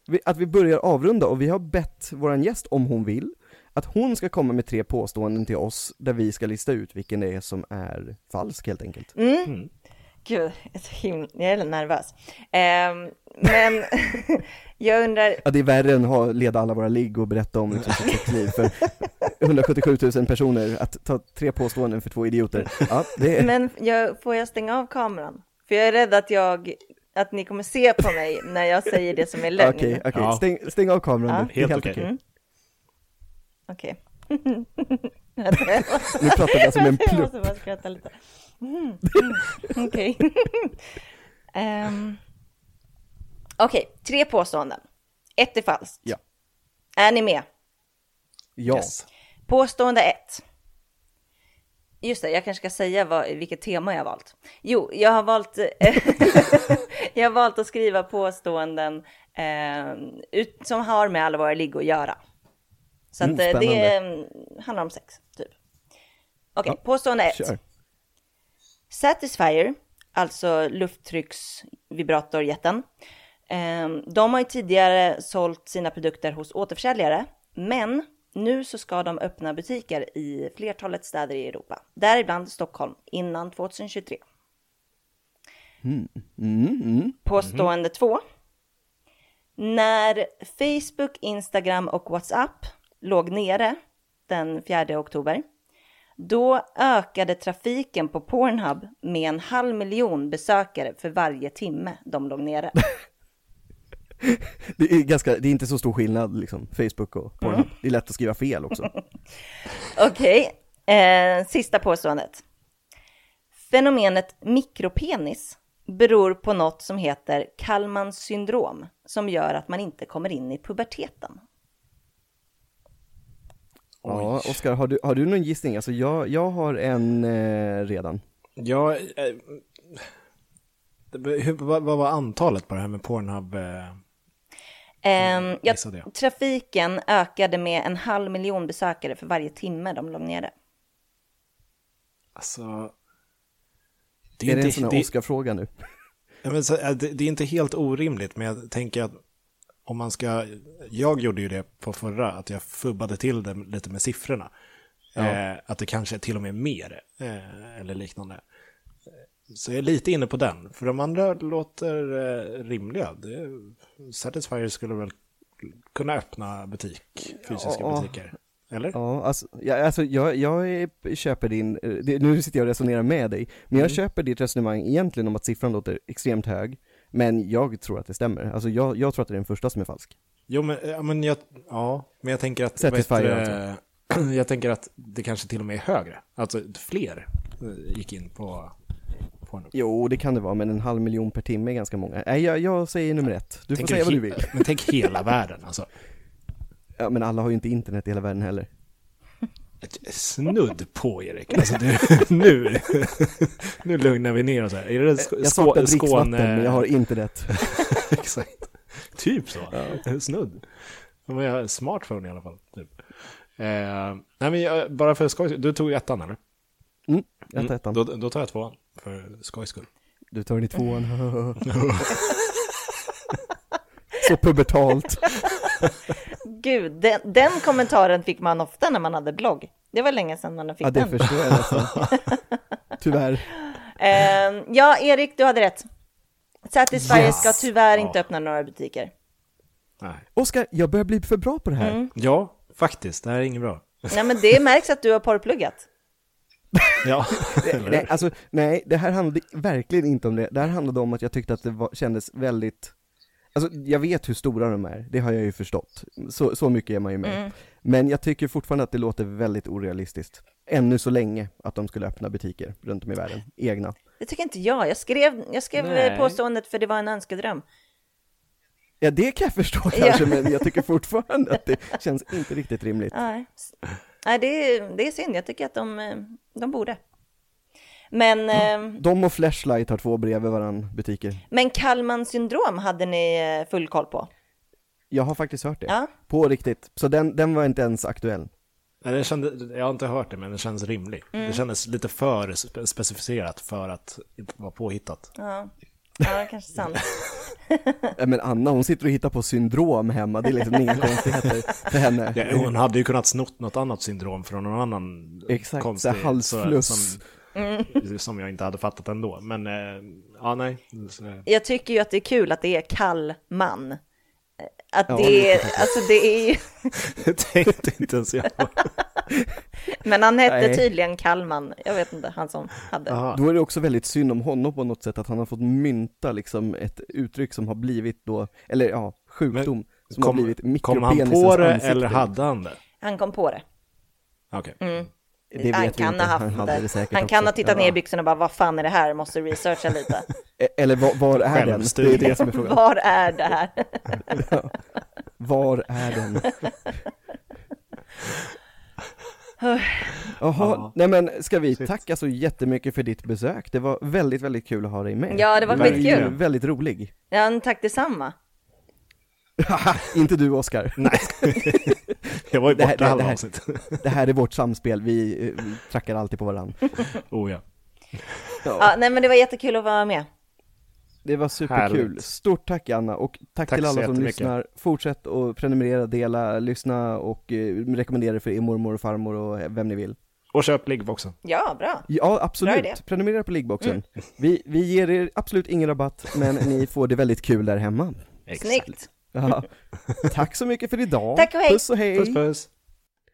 B: Vi, att vi börjar avrunda och vi har bett våran gäst, om hon vill, att hon ska komma med tre påståenden till oss där vi ska lista ut vilken det är som är falsk helt enkelt.
C: Mm.
A: Mm.
C: Gud, jag är, så himla, jag är nervös. Ehm, men jag undrar,
B: Ja, det är värre än att ha- leda alla våra ligg och berätta om liksom, sitt sexliv för 177 000 personer, att ta tre påståenden för två idioter. Ja, det är...
C: men jag, får jag stänga av kameran? För jag är rädd att jag, att ni kommer se på mig när jag säger det som är lögn.
B: Okej, okej,
A: Ja.
B: stäng, stäng av kameran nu. Det är
A: Helt okej.
C: Okej.
B: Nu pratar vi alltså med en
C: Jag
B: plupp.
C: måste bara skratta lite. Mm. Mm. Okej. Ehm. Okej, tre påståenden. Ett är falskt.
B: Ja.
C: Är ni med?
B: Ja.
C: Påstående 1. Just det, jag kanske ska säga vad, vilket tema jag har valt. Jo, jag har valt, jag har valt att skriva påståenden eh, ut, som har med alla våra ligg att göra. Så att,
B: Mm,
C: eh, det
B: spännande.
C: eh, handlar om sex, typ. Okej, påstående 1.
B: Kör.
C: Satisfyer, alltså lufttrycksvibratorjätten, eh, de har ju tidigare sålt sina produkter hos återförsäljare, men nu så ska de öppna butiker i flertalet städer i Europa, däribland Stockholm, innan 2023. Påstående 2. När Facebook, Instagram och WhatsApp låg nere den 4 oktober, då ökade trafiken på Pornhub med en halv miljon besökare för varje timme de låg nere.
B: Det är, ganska, det är inte så stor skillnad liksom, Facebook och Pornhub. Det är lätt att skriva fel också.
C: Okej, eh, sista påståendet. Fenomenet mikropenis beror på något som heter Kallmans syndrom som gör att man inte kommer in i puberteten.
B: Ja, Oskar, har du, har du någon gissning? Alltså jag, jag har en eh, redan.
A: Ja, eh, det- hur, vad, vad var antalet på det här med Pornhub? Eh,
B: Mm,
C: Ehm, jag,
A: missade jag.
C: trafiken ökade med en halv miljon besökare för varje timme de låg nere.
A: alltså...
B: är det en sån här Oscar-fråga nu?
A: Ja, men så, äh, det, det är inte helt orimligt, men jag tänker att om man ska... Jag gjorde ju det på förra, att jag fubbade till det lite med siffrorna. Eh, att det kanske är till och med mer, eh, eller liknande. Så jag är lite inne på den, för de andra låter eh, rimliga. Det, Satisfyer skulle väl kunna öppna butik, fysiska
B: Ja.
A: butiker, eller?
B: Ja, alltså, jag, alltså jag, jag är- köper din, eh, det, nu sitter jag och resonerar med dig, men jag köper ditt resonemang egentligen om att siffran låter extremt hög, men jag tror att det stämmer. Alltså jag, jag tror att det är den första som är falsk.
A: eh, Jo, men, ja, men, jag, ja, men jag tänker att...
B: Satisfyer
A: vad heter det,
B: alltså.
A: jag tänker att det kanske till och med är högre. Alltså fler eh, gick in på Pornhub.
B: Jo, det kan det vara, men en halv miljon per timme är ganska många. Nej, jag, jag säger nummer ett. Du får
A: Tänker
B: säga vad
A: he-
B: du vill.
A: Men tänk hela världen alltså.
B: Ja, men alla har ju inte internet i hela världen heller.
A: Snudd på Erik. Alltså, nu, nu, nu lugnar vi ner oss här. Är det Sk-
B: Jag saknar
A: Skå-
B: dricksvatten,
A: Skåne-
B: men jag har internet.
A: Exakt. Typ så. Snudd. Men jag har smartphone i alla fall. Typ. Eh, nej men jag, bara för skojs Du tog ju ettan eller?
B: Mm, jag tar ettan.
A: Då, då tar jag tvåan. För skojs skull.
B: Du tar den i tvåan. Så pubertalt.
C: Gud, den, den kommentaren fick man ofta när man hade blogg. Det var länge sedan man fick
B: Ja, det
C: den.
B: förstår jag nästan. Tyvärr.
C: Eh, ja, Erik, du hade rätt. Satisfyer
A: Yes.
C: ska tyvärr
A: Ja.
C: inte öppna några butiker.
A: Nej.
B: Oskar, jag börjar bli för bra på det här.
A: Mm. Ja, faktiskt. Det här är inget bra.
C: Nej, men det märks att du har porrpluggat.
A: Ja,
B: Nej, alltså, nej, det här handlade verkligen inte om det. Det här handlade om att jag tyckte att det var, kändes väldigt, alltså jag vet hur stora de är, det har jag ju förstått. Så, så mycket är man ju med. Men jag tycker fortfarande att det låter väldigt orealistiskt. Ännu så länge att de skulle öppna butiker runt om i världen, egna.
C: Det tycker inte jag. Jag skrev, jag skrev
A: Nej.
C: eh, påståendet för det var en önskedröm.
B: Ja, det kan jag förstå kanske, men jag tycker fortfarande att det känns inte riktigt rimligt.
C: Nej, S- Nej det, är- det är synd. Jag tycker att de, eh, de borde. Men, eh,
B: De och Flashlight har två bredvid varann butiker.
C: men Kallmans syndrom hade ni eh, full koll på.
B: Jag har faktiskt hört det.
C: Ja.
B: På riktigt. Så den, den var inte ens aktuell.
A: Nej, det kände, jag har inte hört det, men det känns rimligt.
B: Mm.
A: Det kändes lite för spe- specificerat för att inte vara påhittat.
C: Ja, ja kanske sant.
B: Nej, Men Anna hon sitter och hittar på syndrom hemma, det är liksom inga konstigheter för henne.
A: Ja, hon hade ju kunnat snott något annat syndrom från någon annan
B: Exakt,
A: konstig...
B: så här halsfluss. Mm.
A: så- Som, som jag inte hade fattat ändå. Men, eh, ja nej. Så, eh,
C: Jag tycker ju att det är kul att det är Kallman. Eh, Att
B: Ja,
C: det är, alltså det är ju,
A: Jag tänkte inte ens jag.
C: men han hette
B: Nej.
C: tydligen Kallman. Jag vet inte, han som hade.
A: Jaha.
B: Då är det också väldigt synd om honom på något sätt, att han har fått mynta liksom ett uttryck som har blivit då, eller ja, sjukdom, som har blivit
A: kom han
B: mikropenisens
A: på det
B: ansikte. Mm.
A: eller hade han det?
C: Han kom på det.
A: Okej.
B: Det vet
C: han
B: vi
C: kan
B: inte,
C: ha haft
B: han hade det säkert
C: Han kan
B: också.
C: ha tittat ner i byxorna och bara, vad fan är det här? Måste researcha lite.
B: E- Eller var, var är den? Det är
A: Självstudie.
B: det som är frågan.
C: Var är det här?
B: Var är den? Jaha,
A: Ja.
B: nej men ska vi tacka så jättemycket för ditt besök? Det var väldigt, väldigt kul att ha dig med.
C: Ja, det var
B: Du är
A: skitkul.
B: ju Väldigt rolig.
C: Ja, men tack detsamma.
B: inte du Oskar.
A: Nej. jag var ju
B: Det här-
A: borta
B: det här- det
A: halva
B: här-
A: avsnittet.
B: Det här är vårt samspel, vi, eh, vi trackar alltid på varandra.
A: oh ja.
C: Ja, nej, men det var jättekul att vara med.
B: Det var superkul.
A: Härligt.
B: Stort tack Anna och tack,
A: Tack
B: till
A: så
B: alla som
A: jättemycket.
B: lyssnar. Fortsätt att prenumerera, dela, lyssna och eh, rekommendera det för er mormor och farmor och eh, vem ni vill.
A: Och köp liggboxen.
C: Ja, bra.
B: Ja,
C: Bra idé.
B: absolut. Prenumerera på liggboxen. Vi, vi ger er absolut ingen rabatt, men ni får det väldigt kul där hemma.
C: Snyggt.
B: Ja. Tack så mycket för idag.
C: Tack och hej.
B: Puss och hej.
A: Puss puss.